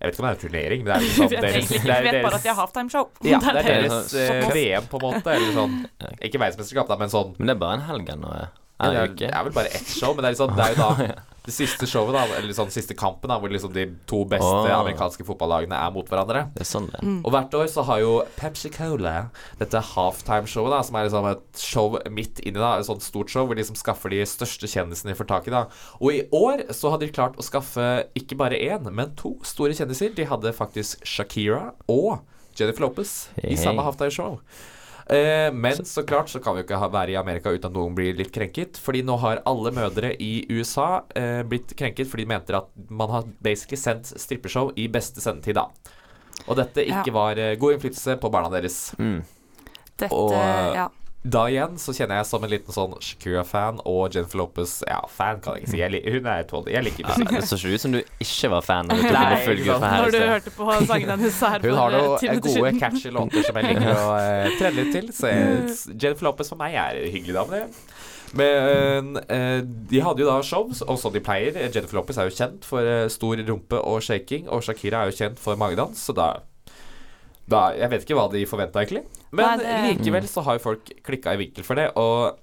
[SPEAKER 2] Jeg vet ikke om det er en turnering, men det er
[SPEAKER 3] Vi
[SPEAKER 2] liksom
[SPEAKER 3] vet
[SPEAKER 2] deres, det
[SPEAKER 3] egentlig ikke.
[SPEAKER 2] er
[SPEAKER 3] Vi vet bare
[SPEAKER 2] deres-
[SPEAKER 3] at de har halftime-show.
[SPEAKER 2] Ja, det er
[SPEAKER 4] det.
[SPEAKER 2] deres eh, VM, på en måte. Eller sånn Ikke verdensmesterskap, da, men sånn
[SPEAKER 4] Men det er bare en helg nå. eh,
[SPEAKER 2] det
[SPEAKER 4] Er
[SPEAKER 2] er, det er vel bare ett show, men det er, liksom, det er jo da det siste showet, da, eller sånn siste kampen, da, hvor liksom de to beste
[SPEAKER 4] Åh.
[SPEAKER 2] amerikanske fotballagene er mot hverandre.
[SPEAKER 4] Det er sånn det.
[SPEAKER 2] Og hvert år så har jo Pepsi Cola dette halftime-showet, da, som er liksom et show midt inni, da, et sånt stort show, hvor de liksom skaffer de største kjendisene de får tak i, da. Og i år så hadde de klart å skaffe ikke bare én, men to store kjendiser. De hadde faktisk Shakira og Jennifer Lopez i
[SPEAKER 4] Hei.
[SPEAKER 2] samme halftime-show. Eh, men så klart så kan vi jo ikke ha, være i Amerika uten at noen blir litt krenket. Fordi nå har alle mødre i USA eh, blitt krenket fordi de mente at man har basically sendt strippeshow i beste sendetid, da. Og dette ikke
[SPEAKER 3] Ja.
[SPEAKER 2] var eh, god innflytelse på barna deres.
[SPEAKER 4] Mm.
[SPEAKER 2] Og,
[SPEAKER 3] Dette,
[SPEAKER 2] eh,
[SPEAKER 3] ja.
[SPEAKER 2] Da igjen så kjenner jeg som en liten sånn Shakira-fan og Jennifer Lopez Ja, fan kan jeg ikke si. Jeg, li- hun er tålelig. Jeg liker
[SPEAKER 4] Ja,
[SPEAKER 2] musikk.
[SPEAKER 4] det så ikke ut som du ikke var fan når du tok
[SPEAKER 2] Nei,
[SPEAKER 4] på full
[SPEAKER 2] ikke
[SPEAKER 4] guffe
[SPEAKER 2] sant.
[SPEAKER 4] her i
[SPEAKER 3] Når du
[SPEAKER 4] sted.
[SPEAKER 3] hørte på sangen hennes her
[SPEAKER 2] Hun har
[SPEAKER 3] for eh, ti
[SPEAKER 2] noen
[SPEAKER 3] minutter
[SPEAKER 2] gode,
[SPEAKER 3] siden. Mm.
[SPEAKER 2] catchy låter som jeg liker å uh, trene litt til. Så jeg, Jennifer Lopez for meg er en hyggelig dame, det. Men eh, de hadde jo da shows, og som de pleier. Eh, Jennifer Lopez er jo kjent for eh, stor rumpe og shaking, og Shakira er jo kjent for magedans, så da, da Jeg vet ikke hva de forventa, egentlig. Men
[SPEAKER 3] Nei,
[SPEAKER 4] det-
[SPEAKER 2] likevel så har jo folk klikka i vinkel for det, og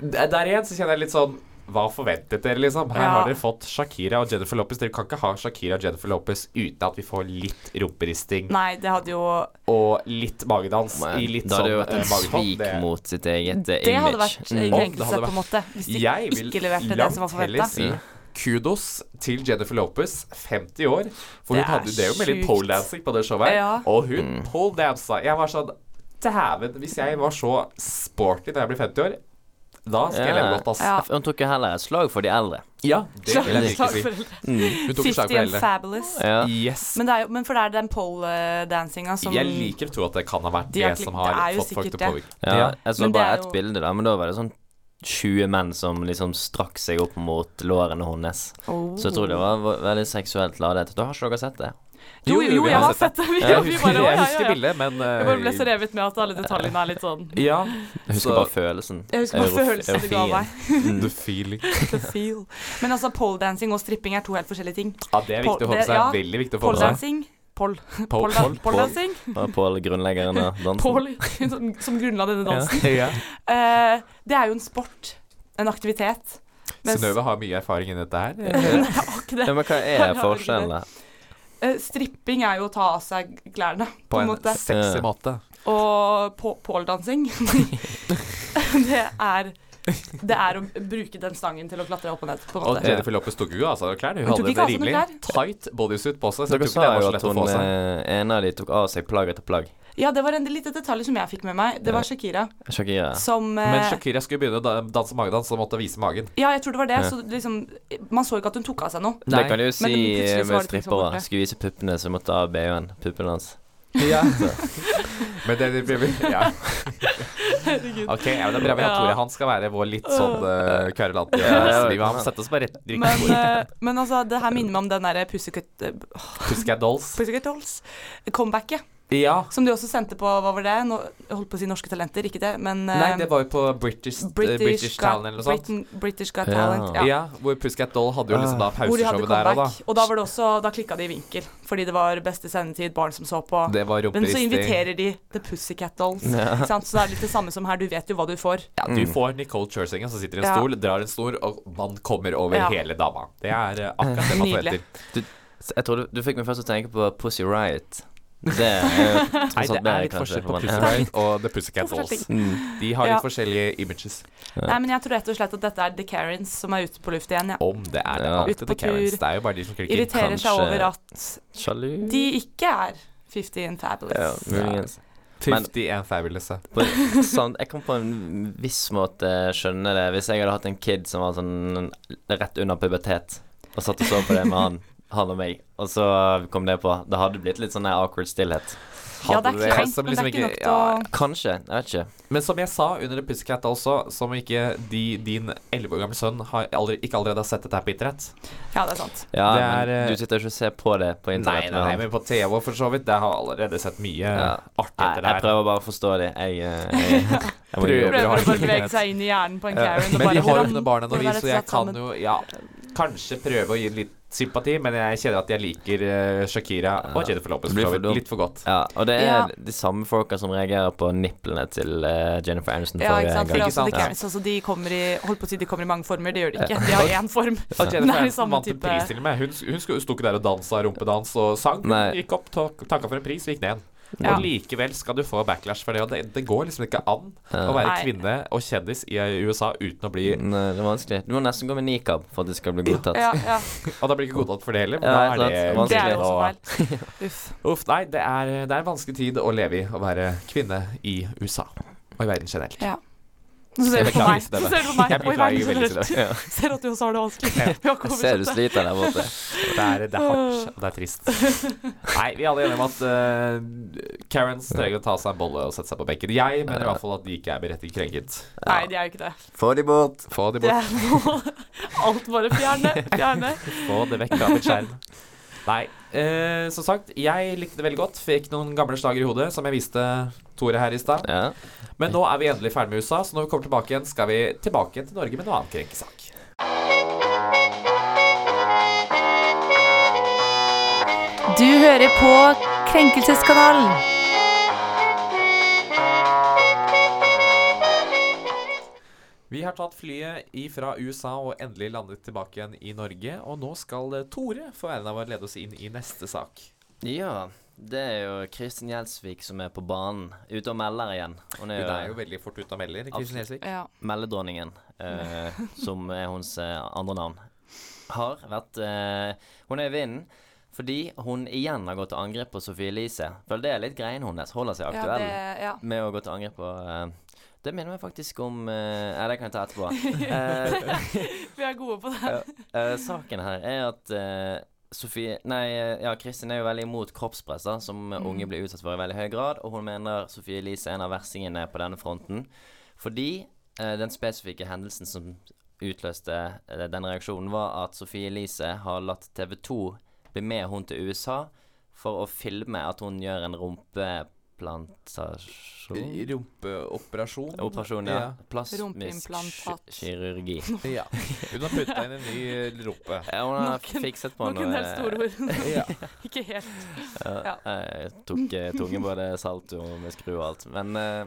[SPEAKER 2] der der igjen så kjenner jeg litt sånn Hva forventet dere, liksom? Her
[SPEAKER 3] Ja.
[SPEAKER 2] har dere fått Shakira og Jennifer Lopez. Dere kan ikke ha Shakira og Jennifer Lopez uten at vi får litt rumperisting
[SPEAKER 3] Nei, det hadde jo
[SPEAKER 2] og litt magedans i litt
[SPEAKER 4] da
[SPEAKER 2] sånn
[SPEAKER 4] hadde det vært
[SPEAKER 2] eh,
[SPEAKER 4] et
[SPEAKER 2] magetopp.
[SPEAKER 4] svik
[SPEAKER 2] Det-
[SPEAKER 4] mot sitt eget eh, image.
[SPEAKER 3] Det hadde vært eh,
[SPEAKER 4] Mm.
[SPEAKER 2] Om det
[SPEAKER 3] krenkelse,
[SPEAKER 2] hadde vært-
[SPEAKER 3] på en måte. Hvis de
[SPEAKER 2] Jeg vil
[SPEAKER 3] ikke leverte det som var
[SPEAKER 2] langt heller
[SPEAKER 3] forventa.
[SPEAKER 2] si kudos til Jennifer Lopez, 50 år. For
[SPEAKER 3] Det
[SPEAKER 2] hun hadde
[SPEAKER 3] er
[SPEAKER 2] det jo med litt
[SPEAKER 3] sjukt.
[SPEAKER 2] poledancing på det showet. her,
[SPEAKER 3] Ja.
[SPEAKER 2] Og hun
[SPEAKER 4] Mm.
[SPEAKER 2] poledansa. Jeg var sånn Dæven, hvis jeg var så sporty da jeg blir 50 år, da skal jeg leve
[SPEAKER 4] Ja.
[SPEAKER 2] godt, ass.
[SPEAKER 3] Ja.
[SPEAKER 4] Hun tok jo heller et slag for de eldre.
[SPEAKER 2] Ja, det vil jeg
[SPEAKER 3] Slag-
[SPEAKER 2] virkelig si.
[SPEAKER 3] slag-
[SPEAKER 2] Hun tok et slag
[SPEAKER 3] 50
[SPEAKER 2] på
[SPEAKER 3] and
[SPEAKER 2] hele.
[SPEAKER 3] fabulous.
[SPEAKER 4] Ja.
[SPEAKER 2] Yes.
[SPEAKER 3] Men, det er jo, men for det er den pole-dansinga som
[SPEAKER 2] Jeg liker å tro at det kan ha vært
[SPEAKER 3] De
[SPEAKER 2] det
[SPEAKER 3] har klikk-
[SPEAKER 2] som
[SPEAKER 3] det
[SPEAKER 2] har
[SPEAKER 3] er jo
[SPEAKER 2] fått folk til
[SPEAKER 3] sikkert
[SPEAKER 2] å påvirke.
[SPEAKER 4] Ja, jeg så
[SPEAKER 3] Men det
[SPEAKER 4] bare
[SPEAKER 3] er
[SPEAKER 4] ett
[SPEAKER 3] jo-
[SPEAKER 4] bilde, da, men da var det sånn 20 menn som liksom strakk seg opp mot lårene hennes.
[SPEAKER 3] Oh.
[SPEAKER 4] Så jeg tror det var ve- veldig seksuelt ladet. Da har ikke dere sett det?
[SPEAKER 3] Jo, jo, jo,
[SPEAKER 2] vi
[SPEAKER 3] jeg har
[SPEAKER 2] sett det.
[SPEAKER 3] sett det. Vi,
[SPEAKER 2] Jeg
[SPEAKER 3] vi
[SPEAKER 2] husker,
[SPEAKER 3] bare, å,
[SPEAKER 2] jeg
[SPEAKER 3] ja,
[SPEAKER 2] husker
[SPEAKER 3] ja, ja.
[SPEAKER 2] bildet, men
[SPEAKER 3] Jeg bare ble så
[SPEAKER 2] eh,
[SPEAKER 3] revet med at alle detaljene er litt sånn
[SPEAKER 2] Ja.
[SPEAKER 4] Jeg husker
[SPEAKER 2] Så-
[SPEAKER 4] bare følelsen.
[SPEAKER 3] Jeg husker bare
[SPEAKER 4] Euro-
[SPEAKER 3] følelsen det ga
[SPEAKER 4] eurofien.
[SPEAKER 3] meg.
[SPEAKER 2] The feeling.
[SPEAKER 3] The feel. Men altså, poledancing og stripping er to helt forskjellige ting.
[SPEAKER 2] Ja, det er viktig å få med seg.
[SPEAKER 3] Ja.
[SPEAKER 2] Veldig viktig å få med seg.
[SPEAKER 3] Poledancing Pol.
[SPEAKER 2] Pole-
[SPEAKER 3] Polda-
[SPEAKER 2] pole-
[SPEAKER 3] Poledancing.
[SPEAKER 4] Og Pål, grunnleggeren av dansen.
[SPEAKER 3] Pole, som- som grunnla denne dansen.
[SPEAKER 2] Ja.
[SPEAKER 3] Eh, det er jo en sport. En aktivitet. Mens-
[SPEAKER 2] Synnøve har mye erfaring i dette her.
[SPEAKER 3] Nei, jeg har ikke
[SPEAKER 4] Ja,
[SPEAKER 3] det.
[SPEAKER 4] men hva
[SPEAKER 3] har
[SPEAKER 4] er
[SPEAKER 3] ikke
[SPEAKER 4] forskjellen der?
[SPEAKER 3] Eh, stripping er jo å ta av seg klærne, på,
[SPEAKER 2] På
[SPEAKER 3] en
[SPEAKER 2] en
[SPEAKER 3] måte.
[SPEAKER 2] sexy
[SPEAKER 4] Ja.
[SPEAKER 2] måte.
[SPEAKER 3] Og på- poledancing det, er, det er å bruke den stangen til å klatre opp og ned, på en
[SPEAKER 2] Og
[SPEAKER 3] måte.
[SPEAKER 2] Jennifer Lopez tok jo altså klærne. Hun
[SPEAKER 3] Hun tok
[SPEAKER 2] hadde en
[SPEAKER 3] ikke av seg noen
[SPEAKER 2] rimelig tight bodysuit på seg. Så
[SPEAKER 4] Dere
[SPEAKER 2] jeg tror ikke
[SPEAKER 4] sa
[SPEAKER 2] det
[SPEAKER 4] jo
[SPEAKER 2] var
[SPEAKER 4] at
[SPEAKER 2] så lett å
[SPEAKER 4] hun
[SPEAKER 2] få seg.
[SPEAKER 4] eh, ene av de tok av seg plagg etter plagg.
[SPEAKER 3] Ja, det var en lite detalj som jeg fikk med meg. Det var Shakira
[SPEAKER 4] Shakira.
[SPEAKER 3] som eh,
[SPEAKER 2] Men Shakira skulle begynne å da- danse magedans, så hun måtte vise magen.
[SPEAKER 3] Ja, jeg tror det var det.
[SPEAKER 4] Ja.
[SPEAKER 3] Så liksom, man så ikke at hun tok av seg noe.
[SPEAKER 2] Nei.
[SPEAKER 4] Det kan de jo si
[SPEAKER 3] plutselig så var det ting
[SPEAKER 4] eh, med
[SPEAKER 3] som var
[SPEAKER 4] strippere.
[SPEAKER 3] borte.
[SPEAKER 4] Skulle vise puppene, så måtte av BH-en. Puppene hans.
[SPEAKER 2] Men det det blir- ja. Ok, ja, men det er bra vi har
[SPEAKER 3] Ja.
[SPEAKER 2] Tore. Han skal være vår litt sånn uh, kverulante
[SPEAKER 4] Ja, det er-
[SPEAKER 2] sliv. Han setter oss på rett riktig
[SPEAKER 3] Men,
[SPEAKER 2] spor.
[SPEAKER 3] eh, men altså, det her minner meg om den derre Pussycat eh,
[SPEAKER 2] Pussycat Dolls.
[SPEAKER 3] Pussycat Dolls. Comebacket.
[SPEAKER 2] Ja.
[SPEAKER 3] Som du også sendte på, hva var det? Nå, jeg holdt på å si Norske Talenter, ikke det, men eh,
[SPEAKER 2] Nei, det var jo på British, British, British Town eller noe sånt.
[SPEAKER 3] Britain, British Got
[SPEAKER 4] Ja.
[SPEAKER 3] Talent.
[SPEAKER 2] Ja.
[SPEAKER 3] Ja.
[SPEAKER 2] hvor Pussycat Doll hadde jo liksom da
[SPEAKER 3] Hvor de hadde
[SPEAKER 2] pauseshowet der
[SPEAKER 3] comeback.
[SPEAKER 2] òg, da.
[SPEAKER 3] Og da var det også, da klikka de i vinkel, fordi det var beste sendetid, barn som så på.
[SPEAKER 2] Det var
[SPEAKER 3] Men så
[SPEAKER 2] rumperisting.
[SPEAKER 3] inviterer de The Pussycat Dolls. Ikke sant? Så det er litt det samme som her, du vet jo hva du får.
[SPEAKER 2] Ja, du får Nicole Chersinger som sitter i en
[SPEAKER 3] Ja.
[SPEAKER 2] stol, drar en snor, og vann kommer over
[SPEAKER 3] Ja.
[SPEAKER 2] hele dama. Det er eh, akkurat det man
[SPEAKER 3] Nydelig.
[SPEAKER 2] forventer.
[SPEAKER 4] Så Jeg tror du, du fikk meg først til å tenke på Pussy Riot. Det er jo tross
[SPEAKER 2] Nei, Sånn det
[SPEAKER 4] alt bedre,
[SPEAKER 2] er litt
[SPEAKER 4] kanskje.
[SPEAKER 2] forskjell på
[SPEAKER 4] for
[SPEAKER 2] Pussy
[SPEAKER 4] mange.
[SPEAKER 2] Riot og The Pussycat
[SPEAKER 3] Det er
[SPEAKER 2] Dolls.
[SPEAKER 3] forskjellig.
[SPEAKER 4] Mm.
[SPEAKER 2] De har
[SPEAKER 3] Ja.
[SPEAKER 2] litt forskjellige images.
[SPEAKER 4] Ja.
[SPEAKER 3] Nei, men jeg tror rett og slett at dette er The Karens som er ute på luft igjen, ja.
[SPEAKER 2] Om det er det.
[SPEAKER 4] Ja.
[SPEAKER 2] alltid
[SPEAKER 3] Ut på
[SPEAKER 2] The Karens.
[SPEAKER 3] tur.
[SPEAKER 2] Det er jo bare de som klikker.
[SPEAKER 3] Irriterer
[SPEAKER 4] kanskje-
[SPEAKER 3] seg over at
[SPEAKER 4] Sjalu.
[SPEAKER 3] de ikke er 50 and
[SPEAKER 4] Ja,
[SPEAKER 3] fabulous.
[SPEAKER 4] muligens.
[SPEAKER 2] 50 and fabulous. ja.
[SPEAKER 4] På, sånn, jeg kan på en viss måte skjønne det hvis jeg hadde hatt en kid som var sånn rett under pubertet, og satt og så på det med han, han og meg, og så kom det på. Det hadde blitt litt sånn der awkward stillhet.
[SPEAKER 3] Ja, det
[SPEAKER 2] Hadde
[SPEAKER 3] er
[SPEAKER 2] det
[SPEAKER 3] kleint,
[SPEAKER 2] som
[SPEAKER 3] men det er
[SPEAKER 2] liksom
[SPEAKER 3] ikke
[SPEAKER 2] ikke-
[SPEAKER 3] nok til å
[SPEAKER 4] Kanskje. Jeg vet ikke.
[SPEAKER 2] Men som jeg sa under The Pussycat også, som ikke de, din 11 år gamle sønn har aldri, ikke allerede har sett dette her på internett.
[SPEAKER 3] Ja, det er sant.
[SPEAKER 4] Ja,
[SPEAKER 2] Det er,
[SPEAKER 4] men
[SPEAKER 2] eh,
[SPEAKER 4] du sitter ikke og ser på det på
[SPEAKER 2] Nei,
[SPEAKER 4] internett.
[SPEAKER 2] nei, nei, men på TV for så vidt. Det har allerede sett mye
[SPEAKER 4] Ja.
[SPEAKER 2] artig etter
[SPEAKER 4] jeg
[SPEAKER 2] det her.
[SPEAKER 4] prøver bare å forstå det. Jeg, eh, jeg, jeg, må
[SPEAKER 2] Prøver.
[SPEAKER 4] gjøre det.
[SPEAKER 3] Prøver å
[SPEAKER 2] har
[SPEAKER 3] bare
[SPEAKER 2] ikke
[SPEAKER 3] bevege
[SPEAKER 2] mulighet.
[SPEAKER 3] seg inn i hjernen på en
[SPEAKER 4] Ja.
[SPEAKER 3] Karen. og
[SPEAKER 2] Eh, Men
[SPEAKER 3] bare,
[SPEAKER 2] vi har jo
[SPEAKER 3] hvordan
[SPEAKER 2] ikke noen barn ennå,
[SPEAKER 3] bør
[SPEAKER 2] vi,
[SPEAKER 3] være
[SPEAKER 2] så jeg
[SPEAKER 3] satt
[SPEAKER 2] kan
[SPEAKER 3] sammen?
[SPEAKER 2] jo ja, kanskje prøve å gi litt sympati, men jeg kjenner at jeg liker eh, Shakira og Jennifer Lopez for
[SPEAKER 4] Det blir
[SPEAKER 2] så
[SPEAKER 4] for
[SPEAKER 2] vidt
[SPEAKER 4] dumt.
[SPEAKER 2] litt for godt.
[SPEAKER 4] Ja, og det er
[SPEAKER 3] Ja.
[SPEAKER 4] de samme folka som reagerer på nipplene til eh, Jennifer Aniston
[SPEAKER 3] Ja, ikke
[SPEAKER 4] forrige
[SPEAKER 3] sant. For det er
[SPEAKER 4] gang.
[SPEAKER 2] Ikke
[SPEAKER 3] også
[SPEAKER 2] sant?
[SPEAKER 3] The Karens, altså, de kommer i Holdt på å si de kommer i mange former, det gjør de ikke. De har én form.
[SPEAKER 2] Og Jennifer
[SPEAKER 3] Nei,
[SPEAKER 2] Aniston
[SPEAKER 3] samme
[SPEAKER 2] vant en
[SPEAKER 3] type.
[SPEAKER 2] pris til og med. Hun, hun sto- sto ikke der og dansa rumpedans og sang. Hun
[SPEAKER 4] Nei.
[SPEAKER 2] gikk opp, tok- takka for en pris og gikk ned.
[SPEAKER 3] Ja.
[SPEAKER 2] Og likevel skal du få backlash for det. Og det, det går liksom ikke an å være
[SPEAKER 3] Nei.
[SPEAKER 2] kvinne og kjendis i eh, USA uten å bli
[SPEAKER 4] Nei, det er vanskelig. Du må nesten gå med nikab for at det skal bli godtatt.
[SPEAKER 3] Ja, ja.
[SPEAKER 2] Og da blir det ikke godtatt for det heller.
[SPEAKER 4] Mm. Ja,
[SPEAKER 2] men da
[SPEAKER 4] sant.
[SPEAKER 2] er det
[SPEAKER 3] Det er jo
[SPEAKER 4] Vanskelig.
[SPEAKER 3] også feil. Uff.
[SPEAKER 2] Uff, nei, det er, det er en vanskelig tid å leve i å være kvinne i USA. Og i verden generelt.
[SPEAKER 3] Ja. Nå ser du på
[SPEAKER 2] beklager
[SPEAKER 3] meg.
[SPEAKER 2] til deg.
[SPEAKER 3] Nå ser du på meg.
[SPEAKER 2] Jeg
[SPEAKER 3] Oi, verden,
[SPEAKER 2] beklager veldig til deg.
[SPEAKER 4] Ja.
[SPEAKER 3] Ser at du også har det vanskelig. Vi har ikke
[SPEAKER 4] Jeg ser du
[SPEAKER 3] oversett det.
[SPEAKER 4] sliter der borte.
[SPEAKER 2] Det er, det er hardt, og det er trist. Nei, vi er alle enige om at eh, Karens trenger å ta seg en bolle og sette seg på benken. Jeg mener i hvert fall at de ikke er berettiget krenket.
[SPEAKER 3] Nei, de er jo ikke det.
[SPEAKER 4] Få de bort.
[SPEAKER 2] Få det
[SPEAKER 3] Det
[SPEAKER 2] bort.
[SPEAKER 3] er noe Alt bare fjerne, fjerne.
[SPEAKER 2] Få det vekk fra mitt skjerm. Nei. eh, som sagt, jeg likte det veldig godt. Fikk noen gamle slager i hodet, som jeg viste Tore her i stad.
[SPEAKER 4] Ja.
[SPEAKER 2] Men nå er vi endelig ferdig med USA, så når vi kommer tilbake igjen, skal vi tilbake igjen til Norge med noe annet krenkesak.
[SPEAKER 5] Du hører på Krenkelseskanalen.
[SPEAKER 2] Vi har har tatt flyet ifra USA og endelig landet tilbake igjen i Norge. Og nå skal eh, Tore få æren av å lede oss inn i neste sak.
[SPEAKER 4] Ja, det er jo Kristin Gjelsvik som er på banen. Ute og melder igjen. Hun
[SPEAKER 2] Hun
[SPEAKER 4] er
[SPEAKER 2] er jo
[SPEAKER 4] jo
[SPEAKER 2] veldig fort ute og melder. Kristin Gjelsvik.
[SPEAKER 3] Ja.
[SPEAKER 4] meldedronningen, eh, som er hennes eh, andre navn. Har vært eh, Hun er i vinden fordi hun igjen har gått til angrep på Sophie Elise. Vel, det er litt greien hennes. Holder seg
[SPEAKER 3] Ja,
[SPEAKER 4] aktuell.
[SPEAKER 3] det, ja.
[SPEAKER 4] med å gå til angrep på eh, Det minner meg faktisk om eh, Nei, det kan jeg ta etterpå. Eh,
[SPEAKER 3] Vi er gode på det.
[SPEAKER 4] eh, saken her er at eh, Sofie Nei, eh, ja, Kristin er jo veldig imot kroppspress, da, som unge blir utsatt for i veldig høy grad, og hun mener Sofie Elise er en av verstingene på denne fronten. Fordi eh, den spesifikke hendelsen som utløste eh, den reaksjonen, var at Sofie Elise har latt TV 2 bli med hun til USA for å filme at hun gjør en rumpeplantasjon
[SPEAKER 2] Rumpeoperasjon.
[SPEAKER 4] Operasjon, ja. Plasmisk
[SPEAKER 3] Rumpeimplantat.
[SPEAKER 4] ki- kirurgi.
[SPEAKER 2] ja. Hun har putta inn en ny eh, rumpe.
[SPEAKER 4] Ja, hun har
[SPEAKER 3] Noen-
[SPEAKER 4] fikset på
[SPEAKER 3] Noen helt store ord.
[SPEAKER 2] Ja.
[SPEAKER 3] Ikke helt.
[SPEAKER 4] Ja, Jeg tok eh, tunge både salt og med skru og alt. Men eh,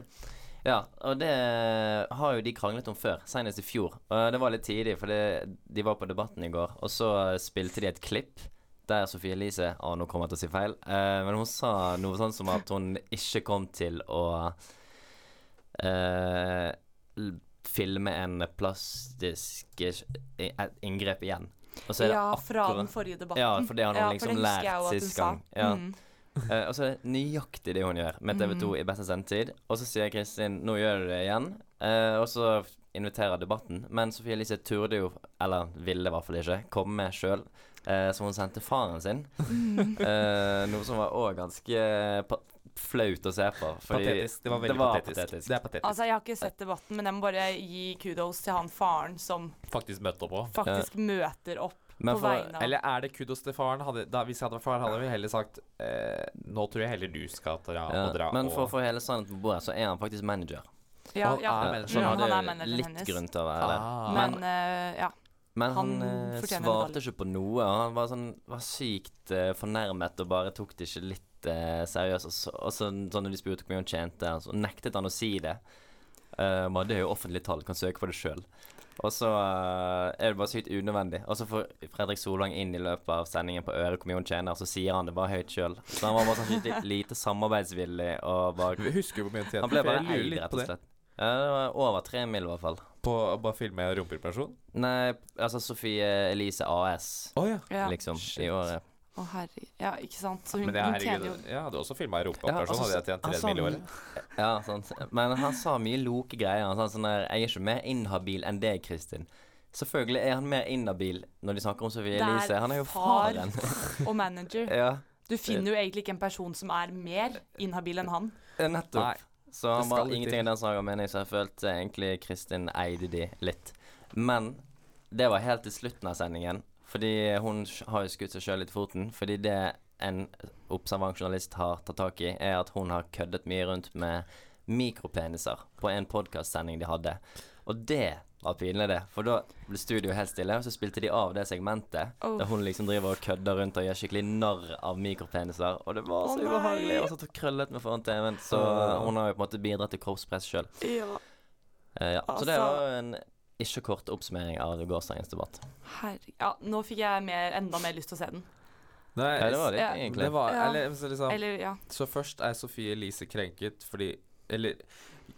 [SPEAKER 4] ja, og det har jo de kranglet om før, senest i fjor. Og det var litt tidlig, for det, de var på Debatten i går, og så spilte de et klipp. Der Sofie Elise Å, nå kommer jeg til å si feil. eh, men hun sa noe sånn som at hun ikke kom til å eh, l- filme en plastisk i- et inngrep igjen. Og så er det
[SPEAKER 3] Ja, fra
[SPEAKER 4] akkurat-
[SPEAKER 3] den forrige debatten.
[SPEAKER 4] Ja, for det har hun
[SPEAKER 3] Ja, for
[SPEAKER 4] liksom
[SPEAKER 3] det husker jeg jo
[SPEAKER 4] lært
[SPEAKER 3] at hun
[SPEAKER 4] sist
[SPEAKER 3] sa.
[SPEAKER 4] gang. Ja.
[SPEAKER 3] Mm.
[SPEAKER 4] Eh, og så er det nøyaktig det hun gjør med TV 2 i beste sendetid. Og så sier Kristin 'nå gjør du det igjen', eh, og så inviterer debatten. Men Sofie Elise turde jo, eller ville i hvert fall ikke, komme med sjøl. så hun sendte faren sin. Eh, noe som var òg ganske eh, pa flaut å se på. fordi
[SPEAKER 2] patetisk. Det var veldig patetisk. Det er patetisk.
[SPEAKER 3] Altså, jeg har ikke sett debatten, men jeg må bare gi kudos til han faren som
[SPEAKER 2] Faktisk møtte opp òg.
[SPEAKER 3] faktisk møter opp
[SPEAKER 4] Men
[SPEAKER 3] på
[SPEAKER 4] for-
[SPEAKER 3] vegne av
[SPEAKER 2] Eller er det kudos til faren? Hadde, da, hvis jeg hadde vært far, hadde vi heller sagt eh, Nå tror jeg heller du skal dra
[SPEAKER 4] Ja,
[SPEAKER 2] og dra.
[SPEAKER 4] men for å
[SPEAKER 2] og,
[SPEAKER 4] få hele sannheten på bordet, så er han faktisk manager.
[SPEAKER 3] ja,
[SPEAKER 2] han
[SPEAKER 3] ja,
[SPEAKER 2] er
[SPEAKER 4] Eh,
[SPEAKER 2] manager.
[SPEAKER 4] Så
[SPEAKER 3] Ja,
[SPEAKER 4] han
[SPEAKER 3] han er
[SPEAKER 4] hadde
[SPEAKER 3] manageren
[SPEAKER 4] litt
[SPEAKER 3] hennes.
[SPEAKER 4] grunn til å være det.
[SPEAKER 2] Ah.
[SPEAKER 3] Men eh, ja.
[SPEAKER 4] Men
[SPEAKER 3] Han
[SPEAKER 4] han, eh,
[SPEAKER 3] fortjener en
[SPEAKER 4] svarte
[SPEAKER 3] medalje.
[SPEAKER 4] ikke på noe. og Han var, sånn, var sykt eh, fornærmet og bare tok det ikke litt eh, seriøst. Og, så, og så, sånn når de spurte hvor mye han tjente, og så nektet han å si det. Eh, men det er jo offentlige tall, kan søke på det sjøl. Og så eh, er det bare sykt unødvendig. Og så får Fredrik Solvang inn i løpet av sendingen på øret hvor mye hun tjener, og så sier han det bare høyt sjøl. Så han var bare sånn skikkelig lite samarbeidsvillig og bare
[SPEAKER 2] Vi husker jo hvor mye tjent.
[SPEAKER 4] Han ble bare
[SPEAKER 2] Jeg lurer
[SPEAKER 4] eid,
[SPEAKER 2] litt
[SPEAKER 4] rett
[SPEAKER 2] på
[SPEAKER 4] og
[SPEAKER 2] det.
[SPEAKER 4] slett. Ja, det var over tre mil, i hvert fall.
[SPEAKER 2] På å bare filme rumpeoperasjon?
[SPEAKER 4] Nei, altså Sofie Elise AS.
[SPEAKER 2] Å ja.
[SPEAKER 3] ja.
[SPEAKER 4] liksom,
[SPEAKER 2] Shit.
[SPEAKER 4] i året.
[SPEAKER 3] Å herre Ja, ikke sant. Så hun,
[SPEAKER 2] Men det,
[SPEAKER 3] hun tjener jo
[SPEAKER 2] herregud, jeg hadde også filma
[SPEAKER 4] Ja,
[SPEAKER 2] rumpeoperasjon.
[SPEAKER 4] altså, sånn.
[SPEAKER 2] hadde jeg tjent
[SPEAKER 4] han
[SPEAKER 2] 3
[SPEAKER 4] sa
[SPEAKER 2] mill. i
[SPEAKER 4] mye-
[SPEAKER 2] året.
[SPEAKER 4] Ja, sant. Men han sa mye loke greier. Han sa sånn der Jeg er ikke mer inhabil enn deg, Kristin. Selvfølgelig er han mer inhabil når de snakker om Sofie
[SPEAKER 3] Det er
[SPEAKER 4] Elise. Han er jo
[SPEAKER 3] far.
[SPEAKER 4] faren.
[SPEAKER 3] Og manager.
[SPEAKER 4] ja,
[SPEAKER 3] Du finner jo egentlig ikke en person som er mer inhabil enn han.
[SPEAKER 4] nettopp.
[SPEAKER 2] Nei,
[SPEAKER 4] Så han
[SPEAKER 2] det
[SPEAKER 4] var
[SPEAKER 2] skal litt
[SPEAKER 4] ingenting i
[SPEAKER 2] til.
[SPEAKER 4] den saken, mener jeg, så jeg følte egentlig Kristin eide de litt. Men det var helt til slutten av sendingen, fordi hun sj- har jo skutt seg sjøl litt i foten. Fordi det en observant journalist har tatt tak i, er at hun har køddet mye rundt med mikropeniser på en podkastsending de hadde. Og det var pinlig, det. For da ble studioet helt stille, og så spilte de av det segmentet
[SPEAKER 3] Oh.
[SPEAKER 4] der hun liksom driver og kødder rundt og gjør skikkelig narr av mikropeniser. Og det var
[SPEAKER 3] Å,
[SPEAKER 4] så
[SPEAKER 3] nei.
[SPEAKER 4] ubehagelig. Og så t- krøllet meg foran TV-en. Så hun har jo på en måte bidratt til kroppspress sjøl.
[SPEAKER 3] Ja.
[SPEAKER 4] Eh, ja. Så
[SPEAKER 3] Altså-
[SPEAKER 4] det var jo en ikke kort oppsummering av gårsdagens debatt.
[SPEAKER 3] Herre Ja, nå fikk jeg mer, enda mer lyst til å se den.
[SPEAKER 2] Nei,
[SPEAKER 4] Ja, det var det,
[SPEAKER 3] Ja,
[SPEAKER 4] egentlig.
[SPEAKER 2] det var,
[SPEAKER 3] Ja.
[SPEAKER 2] eller, så liksom,
[SPEAKER 3] Eller, ja.
[SPEAKER 2] Så først er Sofie Elise krenket fordi Eller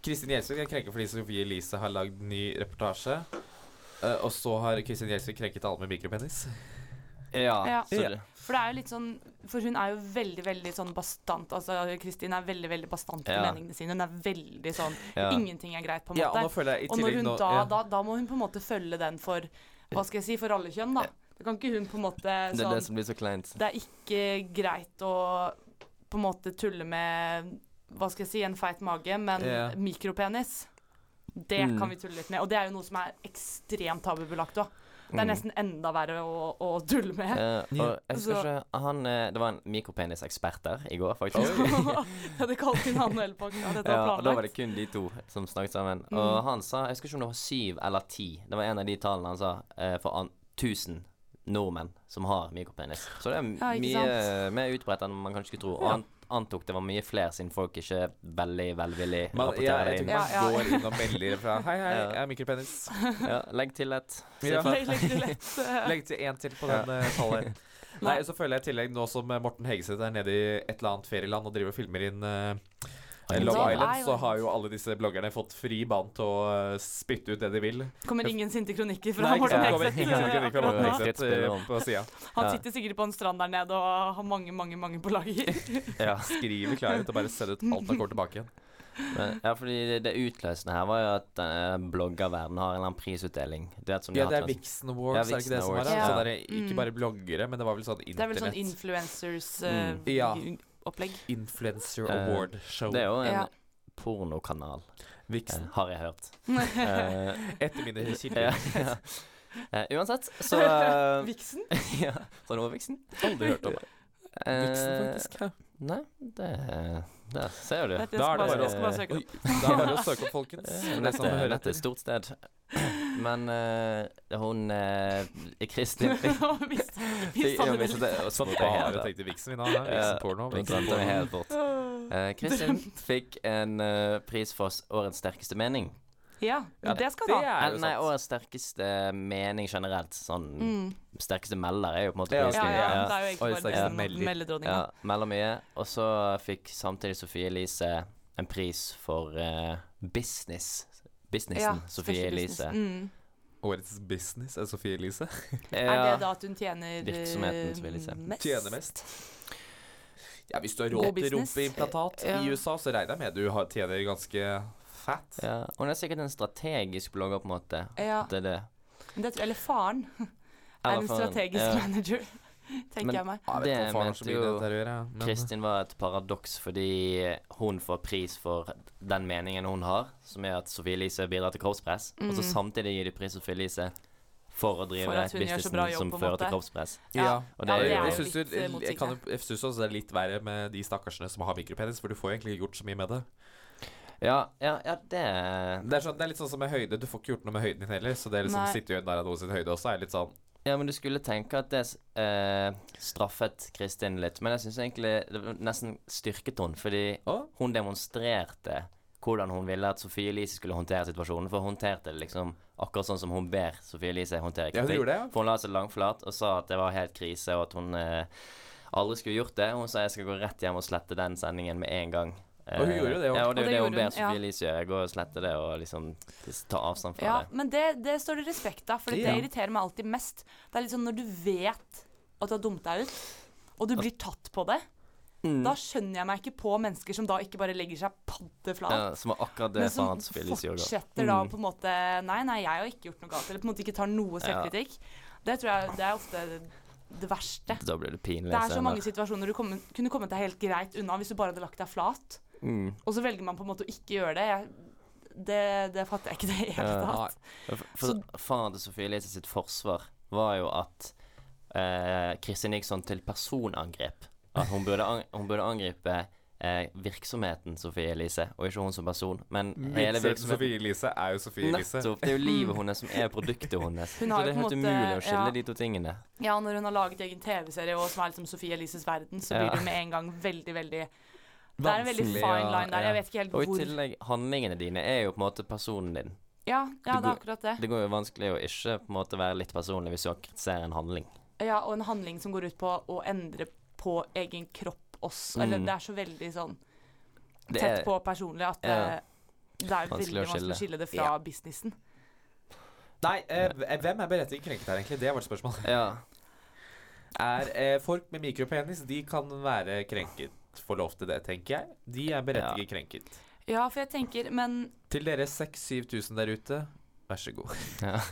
[SPEAKER 2] Kristin Gjelsvik er krenket fordi Sofie Elise har lagd ny reportasje. Eh, og så har Kristin Gjelsvik krenket alle med mikropenis.
[SPEAKER 4] Ja,
[SPEAKER 3] Ja.
[SPEAKER 4] så
[SPEAKER 2] Ja.
[SPEAKER 4] det-
[SPEAKER 3] For det er jo litt sånn For hun er jo veldig, veldig sånn bastant. Altså, Kristin er veldig, veldig bastant på
[SPEAKER 4] Ja.
[SPEAKER 3] meningene sine. Hun er veldig sånn
[SPEAKER 4] Ja.
[SPEAKER 3] Ingenting er greit, på en
[SPEAKER 2] Ja, og
[SPEAKER 3] måte.
[SPEAKER 2] nå føler jeg i
[SPEAKER 3] og når
[SPEAKER 2] tillegg
[SPEAKER 3] hun
[SPEAKER 2] nå-
[SPEAKER 3] da,
[SPEAKER 2] ja.
[SPEAKER 3] da, da må hun på en måte følge den for Hva skal jeg si for alle kjønn, da. Da kan ikke hun på en måte
[SPEAKER 4] det er det
[SPEAKER 3] sånn
[SPEAKER 4] som blir så kleint.
[SPEAKER 3] Det er ikke greit å på en måte tulle med Hva skal jeg si, en feit mage, men
[SPEAKER 2] Ja.
[SPEAKER 3] mikropenis. Det
[SPEAKER 4] Mm.
[SPEAKER 3] kan vi tulle litt med. Og det er jo noe som er ekstremt tabubelagt òg. Det
[SPEAKER 4] Mm.
[SPEAKER 3] er nesten Altså- enda verre å, å tulle med.
[SPEAKER 4] Eh, og jeg husker
[SPEAKER 3] Så-
[SPEAKER 4] ikke han, eh, Det var en mikropenisekspert der i går, faktisk.
[SPEAKER 3] Jeg hadde kalt inn han og Elpak. Ja, dette
[SPEAKER 4] Ja,
[SPEAKER 3] var
[SPEAKER 4] og da var det
[SPEAKER 3] planlagt. Mm.
[SPEAKER 4] kun de to som snakket sammen. Og han sa Jeg husker ikke om det var syv eller ti. Det var en av de tallene han sa eh, for an 1000 nordmenn som har mikropenis. Så det er m-
[SPEAKER 3] Ja, ikke
[SPEAKER 4] mye
[SPEAKER 3] sant?
[SPEAKER 4] eh, mer utbredt enn man kanskje skulle tro. Og han antok det var mye flere, siden folk ikke veldig velvillig
[SPEAKER 2] Man, ja,
[SPEAKER 4] rapporterer
[SPEAKER 2] jeg tror
[SPEAKER 4] det inn.
[SPEAKER 2] man
[SPEAKER 3] Ja, ja.
[SPEAKER 2] går inn og melder fra Hei, hei,
[SPEAKER 4] Ja.
[SPEAKER 2] jeg er mikropenis.
[SPEAKER 4] Ja, legg til et.
[SPEAKER 2] Ja.
[SPEAKER 3] Legg, legg til lett. eh,
[SPEAKER 2] Legg til én til på den eh, tallet. Nei, så føler jeg i tillegg, nå som eh, Morten Hegeseth er nede i et eller annet ferieland og driver og filmer inn eh, Love
[SPEAKER 3] Love
[SPEAKER 2] Island, så
[SPEAKER 3] Island.
[SPEAKER 2] har jo alle disse bloggerne fått fri bane til å eh, spytte ut det de vil.
[SPEAKER 3] Kommer ingen sinte kronikker fra
[SPEAKER 2] Nei, ikke
[SPEAKER 3] Morten
[SPEAKER 2] sant, det kommer
[SPEAKER 3] Hegseth.
[SPEAKER 2] ingen
[SPEAKER 3] eh,
[SPEAKER 2] kronikk fra
[SPEAKER 3] akkurat
[SPEAKER 2] Morten
[SPEAKER 3] nå.
[SPEAKER 4] Hegseth.
[SPEAKER 2] Hegseth eh, på siden
[SPEAKER 3] Han
[SPEAKER 4] Ja.
[SPEAKER 3] sitter sikkert på en strand der nede og har mange, mange mange på lager.
[SPEAKER 4] Ja.
[SPEAKER 2] Skriver klarhet og bare sender ut alt han kommer tilbake igjen.
[SPEAKER 4] Men, ja, fordi det, det utløsende her var jo at eh, bloggerverden har en eller annen prisutdeling. Du vet, som de
[SPEAKER 2] Ja,
[SPEAKER 4] har
[SPEAKER 2] det er
[SPEAKER 4] hatt en-
[SPEAKER 2] Vixen Awards, er det ikke
[SPEAKER 4] Vixen
[SPEAKER 2] det som er
[SPEAKER 4] Awards,
[SPEAKER 2] det?
[SPEAKER 4] ja.
[SPEAKER 2] Sånn der, ikke
[SPEAKER 3] Mm.
[SPEAKER 2] bare bloggere, men det var vel sånn
[SPEAKER 3] Det er vel sånn eh,
[SPEAKER 2] internett
[SPEAKER 4] Mm.
[SPEAKER 2] Ja.
[SPEAKER 3] influencers-opplegg.
[SPEAKER 2] Influencer
[SPEAKER 4] Eh,
[SPEAKER 2] Award-show.
[SPEAKER 4] Det er jo en
[SPEAKER 3] Ja.
[SPEAKER 4] pornokanal, eh,
[SPEAKER 2] Vixen.
[SPEAKER 4] har jeg hørt. Eh,
[SPEAKER 2] Etter mine
[SPEAKER 4] ja,
[SPEAKER 2] kilder.
[SPEAKER 4] ja. Eh, uansett, så eh,
[SPEAKER 3] Vixen?
[SPEAKER 4] ja, Sånn over Vixen.
[SPEAKER 2] Aldri hørt om det.
[SPEAKER 4] Eh,
[SPEAKER 2] Vixen, faktisk. ja.
[SPEAKER 4] Nei, det, det ser jo du.
[SPEAKER 3] Vet du,
[SPEAKER 2] Da
[SPEAKER 3] jeg
[SPEAKER 2] er det bare
[SPEAKER 3] skal bare- jeg skal bare
[SPEAKER 4] å-
[SPEAKER 3] søke det
[SPEAKER 2] Oi,
[SPEAKER 3] opp.
[SPEAKER 2] da er det bare å søke opp, folkens.
[SPEAKER 4] Eh,
[SPEAKER 2] Det er
[SPEAKER 4] Dette
[SPEAKER 2] sånn det hører
[SPEAKER 4] dette er et
[SPEAKER 2] etter.
[SPEAKER 4] stort sted. Men eh, hun eh, Kristin fikk
[SPEAKER 3] Og visst- visst
[SPEAKER 4] ja,
[SPEAKER 3] hadde
[SPEAKER 4] men så det- og så
[SPEAKER 2] Sånn
[SPEAKER 4] fikk jeg helt-
[SPEAKER 2] bare tenkte Vixen vi nå. ja. Vixen porno.
[SPEAKER 4] Nå
[SPEAKER 2] Vixen
[SPEAKER 4] drømte jeg
[SPEAKER 2] porno.
[SPEAKER 4] helt bort. Eh, Kristin fikk en eh, pris for s- årets sterkeste mening.
[SPEAKER 3] Ja,
[SPEAKER 2] Ja,
[SPEAKER 3] det skal
[SPEAKER 2] det
[SPEAKER 3] han ha.
[SPEAKER 2] er
[SPEAKER 4] Eller
[SPEAKER 2] jo sånn
[SPEAKER 4] nei,
[SPEAKER 2] sant.
[SPEAKER 4] årets sterkeste mening generelt. Sånn
[SPEAKER 3] Mm.
[SPEAKER 4] sterkeste melder er jo på en måte
[SPEAKER 2] Ja,
[SPEAKER 4] prisen.
[SPEAKER 3] Ja, ja,
[SPEAKER 2] ja.
[SPEAKER 3] det er jo egentlig
[SPEAKER 2] Oi,
[SPEAKER 3] bare
[SPEAKER 2] så
[SPEAKER 4] jeg
[SPEAKER 3] Vixen,
[SPEAKER 2] melder.
[SPEAKER 3] melderdronninga.
[SPEAKER 4] ja, melder mye. Og så fikk samtidig Sofie Elise en pris for eh, business. Businessen Sofie
[SPEAKER 3] special
[SPEAKER 4] Elise.
[SPEAKER 3] business. Mm.
[SPEAKER 2] Årets business er Sofie Elise.
[SPEAKER 3] Er
[SPEAKER 4] Ja.
[SPEAKER 3] det da at hun tjener
[SPEAKER 4] Virksomheten,
[SPEAKER 3] eh,
[SPEAKER 4] vil jeg si.
[SPEAKER 3] mest?
[SPEAKER 2] Tjener mest. Ja, hvis du har
[SPEAKER 3] God
[SPEAKER 2] råd til
[SPEAKER 3] business.
[SPEAKER 2] rumpeimplantat
[SPEAKER 3] Ja.
[SPEAKER 2] i USA, så regner jeg med du har- tjener ganske fat.
[SPEAKER 4] Ja, Hun er sikkert en strategisk blogger, på en måte.
[SPEAKER 3] Ja,
[SPEAKER 4] Det er det.
[SPEAKER 3] det tror, eller faren er
[SPEAKER 4] Eller
[SPEAKER 3] en
[SPEAKER 4] for-
[SPEAKER 3] strategisk
[SPEAKER 4] ja.
[SPEAKER 3] manager, tenker
[SPEAKER 4] Men-
[SPEAKER 3] jeg meg.
[SPEAKER 2] Jeg vet
[SPEAKER 4] Det
[SPEAKER 2] ikke om faren har så
[SPEAKER 4] mente
[SPEAKER 2] mye
[SPEAKER 4] jo
[SPEAKER 2] med dette å gjøre, men-
[SPEAKER 4] Kristin var et paradoks fordi hun får pris for den meningen hun har, som er at Sophie Elise bidrar til kroppspress, og så samtidig gir de pris til Sophie Elise for å
[SPEAKER 3] Mm.
[SPEAKER 4] drive
[SPEAKER 3] For at hun gjør så
[SPEAKER 4] businessen
[SPEAKER 3] bra jobb,
[SPEAKER 4] som
[SPEAKER 3] på en
[SPEAKER 4] fører
[SPEAKER 3] måte.
[SPEAKER 4] til kroppspress.
[SPEAKER 2] Ja,
[SPEAKER 4] Og det
[SPEAKER 3] Ja,
[SPEAKER 4] er jo-
[SPEAKER 2] jeg
[SPEAKER 4] jo
[SPEAKER 2] syns jo-
[SPEAKER 3] litt eh,
[SPEAKER 2] jeg kan
[SPEAKER 3] motsigende.
[SPEAKER 2] jo- jeg syns også det er litt verre med de stakkarsene som har mikropenis, for du får egentlig ikke gjort så mye med det.
[SPEAKER 4] Ja, ja, ja det
[SPEAKER 2] Det er, sånn, det er litt sånn som med høyde, du får ikke gjort noe med høyden din heller, så det er liksom
[SPEAKER 3] Nei.
[SPEAKER 2] sitter jo en der av noen sin høyde også, er litt sånn
[SPEAKER 4] Ja, men du skulle tenke at det eh, straffet Kristin litt, men jeg syns egentlig det var nesten styrket hun, fordi
[SPEAKER 2] Å?
[SPEAKER 4] hun demonstrerte hvordan hun ville at Sophie Elise skulle håndtere situasjonen, for hun håndterte det liksom akkurat sånn som hun ber Sophie Elise håndtere
[SPEAKER 2] Ja, hun
[SPEAKER 4] kritikk.
[SPEAKER 2] gjorde det, ja.
[SPEAKER 4] For hun la seg langflat og sa at det var helt krise, og at hun eh, aldri skulle gjort det. Hun sa jeg skal gå rett hjem og slette den sendingen med en gang. Eh,
[SPEAKER 2] Og hun gjorde det, ja.
[SPEAKER 4] ja. Og
[SPEAKER 3] Og det
[SPEAKER 4] det er jo det
[SPEAKER 3] gjorde
[SPEAKER 4] hun ber
[SPEAKER 3] hun, ja.
[SPEAKER 4] Sophie Elise gjøre, gå og slette det og liksom ta avstand fra
[SPEAKER 3] Ja,
[SPEAKER 4] det.
[SPEAKER 3] men det, det står det respekt av, for
[SPEAKER 2] Ja.
[SPEAKER 3] det irriterer meg alltid mest. Det er litt sånn når du vet at du har dumt deg ut, og du blir tatt på det,
[SPEAKER 4] Mm.
[SPEAKER 3] da skjønner jeg meg ikke på mennesker som da ikke bare legger seg paddeflat.
[SPEAKER 4] Ja, som var akkurat det
[SPEAKER 3] Men som
[SPEAKER 4] faen Sophie Elise Mm. gjorde.
[SPEAKER 3] fortsetter da på en måte Nei, nei, jeg har ikke gjort noe galt. Eller på en måte ikke tar noe selvkritikk. Det tror jeg det er ofte det verste.
[SPEAKER 4] Da blir det pinlig.
[SPEAKER 3] Det er så
[SPEAKER 4] senere.
[SPEAKER 3] mange situasjoner du kommer, kunne kommet deg helt greit unna hvis du bare hadde lagt deg flat.
[SPEAKER 4] Mm.
[SPEAKER 3] Og så velger man på en måte å ikke gjøre det. Jeg, det, det fatter jeg ikke det i det hele
[SPEAKER 4] Ja.
[SPEAKER 3] tatt.
[SPEAKER 4] For, for Faren til Sofie Elise sitt forsvar var jo at eh, Kristin gikk sånn til personangrep. At hun burde, ang hun burde angripe eh, virksomheten Sofie Elise, og ikke hun som person. Men
[SPEAKER 2] Mikser
[SPEAKER 4] hele
[SPEAKER 2] til
[SPEAKER 4] virksomheten
[SPEAKER 2] Sofie Elise er jo Sofie Elise.
[SPEAKER 4] Nettopp. Det er jo livet hennes som er produktet hennes.
[SPEAKER 3] Mm. Hun
[SPEAKER 4] så
[SPEAKER 3] har
[SPEAKER 4] det
[SPEAKER 3] jo
[SPEAKER 4] er
[SPEAKER 3] på
[SPEAKER 4] helt
[SPEAKER 3] en måte-
[SPEAKER 4] umulig å skille
[SPEAKER 3] ja.
[SPEAKER 4] de to tingene.
[SPEAKER 3] Ja, når hun har laget egen TV-serie og som er liksom Sofie Elises verden, så
[SPEAKER 4] Ja.
[SPEAKER 3] blir du med en gang veldig, veldig Det er en veldig
[SPEAKER 4] Vanskelig,
[SPEAKER 3] fine
[SPEAKER 4] ja,
[SPEAKER 3] line der.
[SPEAKER 4] ja.
[SPEAKER 3] Jeg vet ikke helt
[SPEAKER 4] Og i
[SPEAKER 3] hvor
[SPEAKER 4] tillegg, handlingene dine er jo på en måte personen din.
[SPEAKER 3] Ja, ja det
[SPEAKER 4] Du
[SPEAKER 3] er
[SPEAKER 4] går-
[SPEAKER 3] akkurat det.
[SPEAKER 4] Det går jo vanskelig å ikke på en måte være litt personlig hvis du har kritisert en handling.
[SPEAKER 3] Ja, og en handling som går ut på å endre på egen kropp også. Eller
[SPEAKER 4] Mm.
[SPEAKER 3] det er så veldig sånn
[SPEAKER 4] Det
[SPEAKER 3] tett
[SPEAKER 4] er-
[SPEAKER 3] på personlig at
[SPEAKER 4] Ja.
[SPEAKER 3] eh, det er
[SPEAKER 4] Vanskelig
[SPEAKER 3] veldig
[SPEAKER 4] å skille.
[SPEAKER 3] vanskelig å skille det fra businessen.
[SPEAKER 2] Nei, eh, hvem er berettiget krenket her, egentlig? Det var spørsmålet.
[SPEAKER 4] Ja.
[SPEAKER 2] Er eh, folk med mikropenis, de kan være krenket. Få lov til det, tenker jeg. De er berettiget krenket.
[SPEAKER 3] Ja, for jeg tenker, men
[SPEAKER 2] Til dere 6000-7000 der ute, vær så god.
[SPEAKER 4] ja. Eh,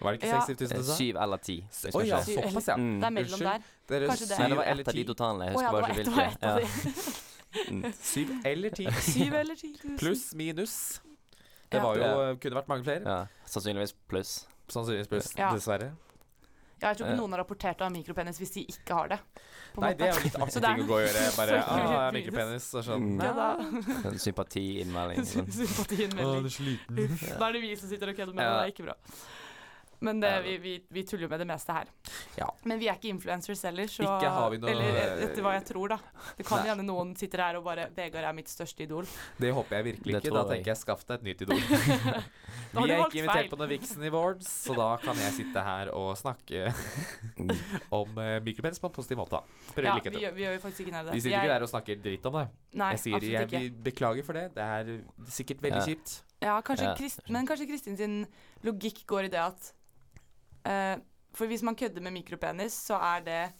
[SPEAKER 2] Var det ikke
[SPEAKER 3] Ja.
[SPEAKER 2] 6000-7000 du sa?
[SPEAKER 4] Syv eller ti. Jeg skal
[SPEAKER 2] Å ja,
[SPEAKER 4] ikke-
[SPEAKER 3] Syv-
[SPEAKER 2] såpass, ja.
[SPEAKER 4] Mm.
[SPEAKER 3] det er mellom
[SPEAKER 2] Unnskyld.
[SPEAKER 3] der.
[SPEAKER 2] Dere
[SPEAKER 3] Kanskje det er-
[SPEAKER 4] Nei,
[SPEAKER 2] syv
[SPEAKER 4] det var ett
[SPEAKER 2] eller
[SPEAKER 4] av de
[SPEAKER 2] ti.
[SPEAKER 4] totalene. Jeg
[SPEAKER 3] Å ja, det
[SPEAKER 4] husker bare
[SPEAKER 3] var
[SPEAKER 4] ikke
[SPEAKER 3] ett og ett av
[SPEAKER 4] hvilke.
[SPEAKER 3] de.
[SPEAKER 2] Syv eller ti.
[SPEAKER 3] Syv eller ti tusen.
[SPEAKER 2] Pluss, minus. Det
[SPEAKER 3] Ja.
[SPEAKER 2] var jo, eh,
[SPEAKER 4] Ja.
[SPEAKER 2] kunne vært mange
[SPEAKER 4] Ja.
[SPEAKER 2] flere.
[SPEAKER 4] Ja. Sannsynligvis pluss.
[SPEAKER 2] Sannsynligvis pluss,
[SPEAKER 3] Ja.
[SPEAKER 2] dessverre.
[SPEAKER 3] Ja, jeg tror
[SPEAKER 4] Ja.
[SPEAKER 3] ikke noen har rapportert å ha mikropenis hvis de ikke har det. på en
[SPEAKER 2] Eh. Nei,
[SPEAKER 3] måte.
[SPEAKER 2] det er jo litt
[SPEAKER 3] Så
[SPEAKER 2] artig
[SPEAKER 3] det er-
[SPEAKER 2] ting å gå og gjøre. Bare
[SPEAKER 3] Så det er
[SPEAKER 2] ah,
[SPEAKER 3] minus.
[SPEAKER 2] mikropenis og sånn.
[SPEAKER 4] Mm.
[SPEAKER 3] Ja, da.
[SPEAKER 4] En Sympatiinnmelding. Sånn.
[SPEAKER 3] Sympatien veldig.
[SPEAKER 2] sliten.
[SPEAKER 3] Uff, da er det vi som sitter og kødder med det,
[SPEAKER 4] Ja.
[SPEAKER 3] det er ikke bra. Men det, vi, vi, vi tuller jo med det meste her.
[SPEAKER 2] Ja.
[SPEAKER 3] Men vi er ikke influencers heller, så
[SPEAKER 2] Ikke har vi noe-
[SPEAKER 3] Eller etter hva jeg tror, da. Det kan
[SPEAKER 4] Nei.
[SPEAKER 3] gjerne noen sitter her og bare 'Vegard er mitt største idol'.
[SPEAKER 2] Det håper jeg virkelig
[SPEAKER 4] Det
[SPEAKER 2] ikke. Da
[SPEAKER 4] tror
[SPEAKER 2] tenker
[SPEAKER 4] jeg.
[SPEAKER 2] jeg skaff deg et nytt idol.
[SPEAKER 3] Da har
[SPEAKER 2] Vi
[SPEAKER 3] du
[SPEAKER 2] er
[SPEAKER 3] valgt
[SPEAKER 2] ikke invitert
[SPEAKER 3] feil.
[SPEAKER 2] på noen Vixen Awards, så da kan jeg sitte her og snakke
[SPEAKER 4] Mm.
[SPEAKER 2] om uh, mikrobens på en positiv måte. da. Prøv
[SPEAKER 3] Ja,
[SPEAKER 2] lykke
[SPEAKER 3] vi,
[SPEAKER 2] til.
[SPEAKER 3] gjør- vi gjør jo faktisk ikke nær det.
[SPEAKER 2] Vi sitter
[SPEAKER 3] Jeg-
[SPEAKER 2] ikke der og snakker dritt om det.
[SPEAKER 3] Nei,
[SPEAKER 2] Jeg sier jeg
[SPEAKER 3] absolutt ikke.
[SPEAKER 2] vil beklage for det. Det er sikkert veldig
[SPEAKER 4] Ja.
[SPEAKER 2] kjipt.
[SPEAKER 3] Ja, kanskje
[SPEAKER 4] Ja,
[SPEAKER 3] Krist, men kanskje Kristin sin logikk går i det at eh, For hvis man kødder med mikropenis, så er det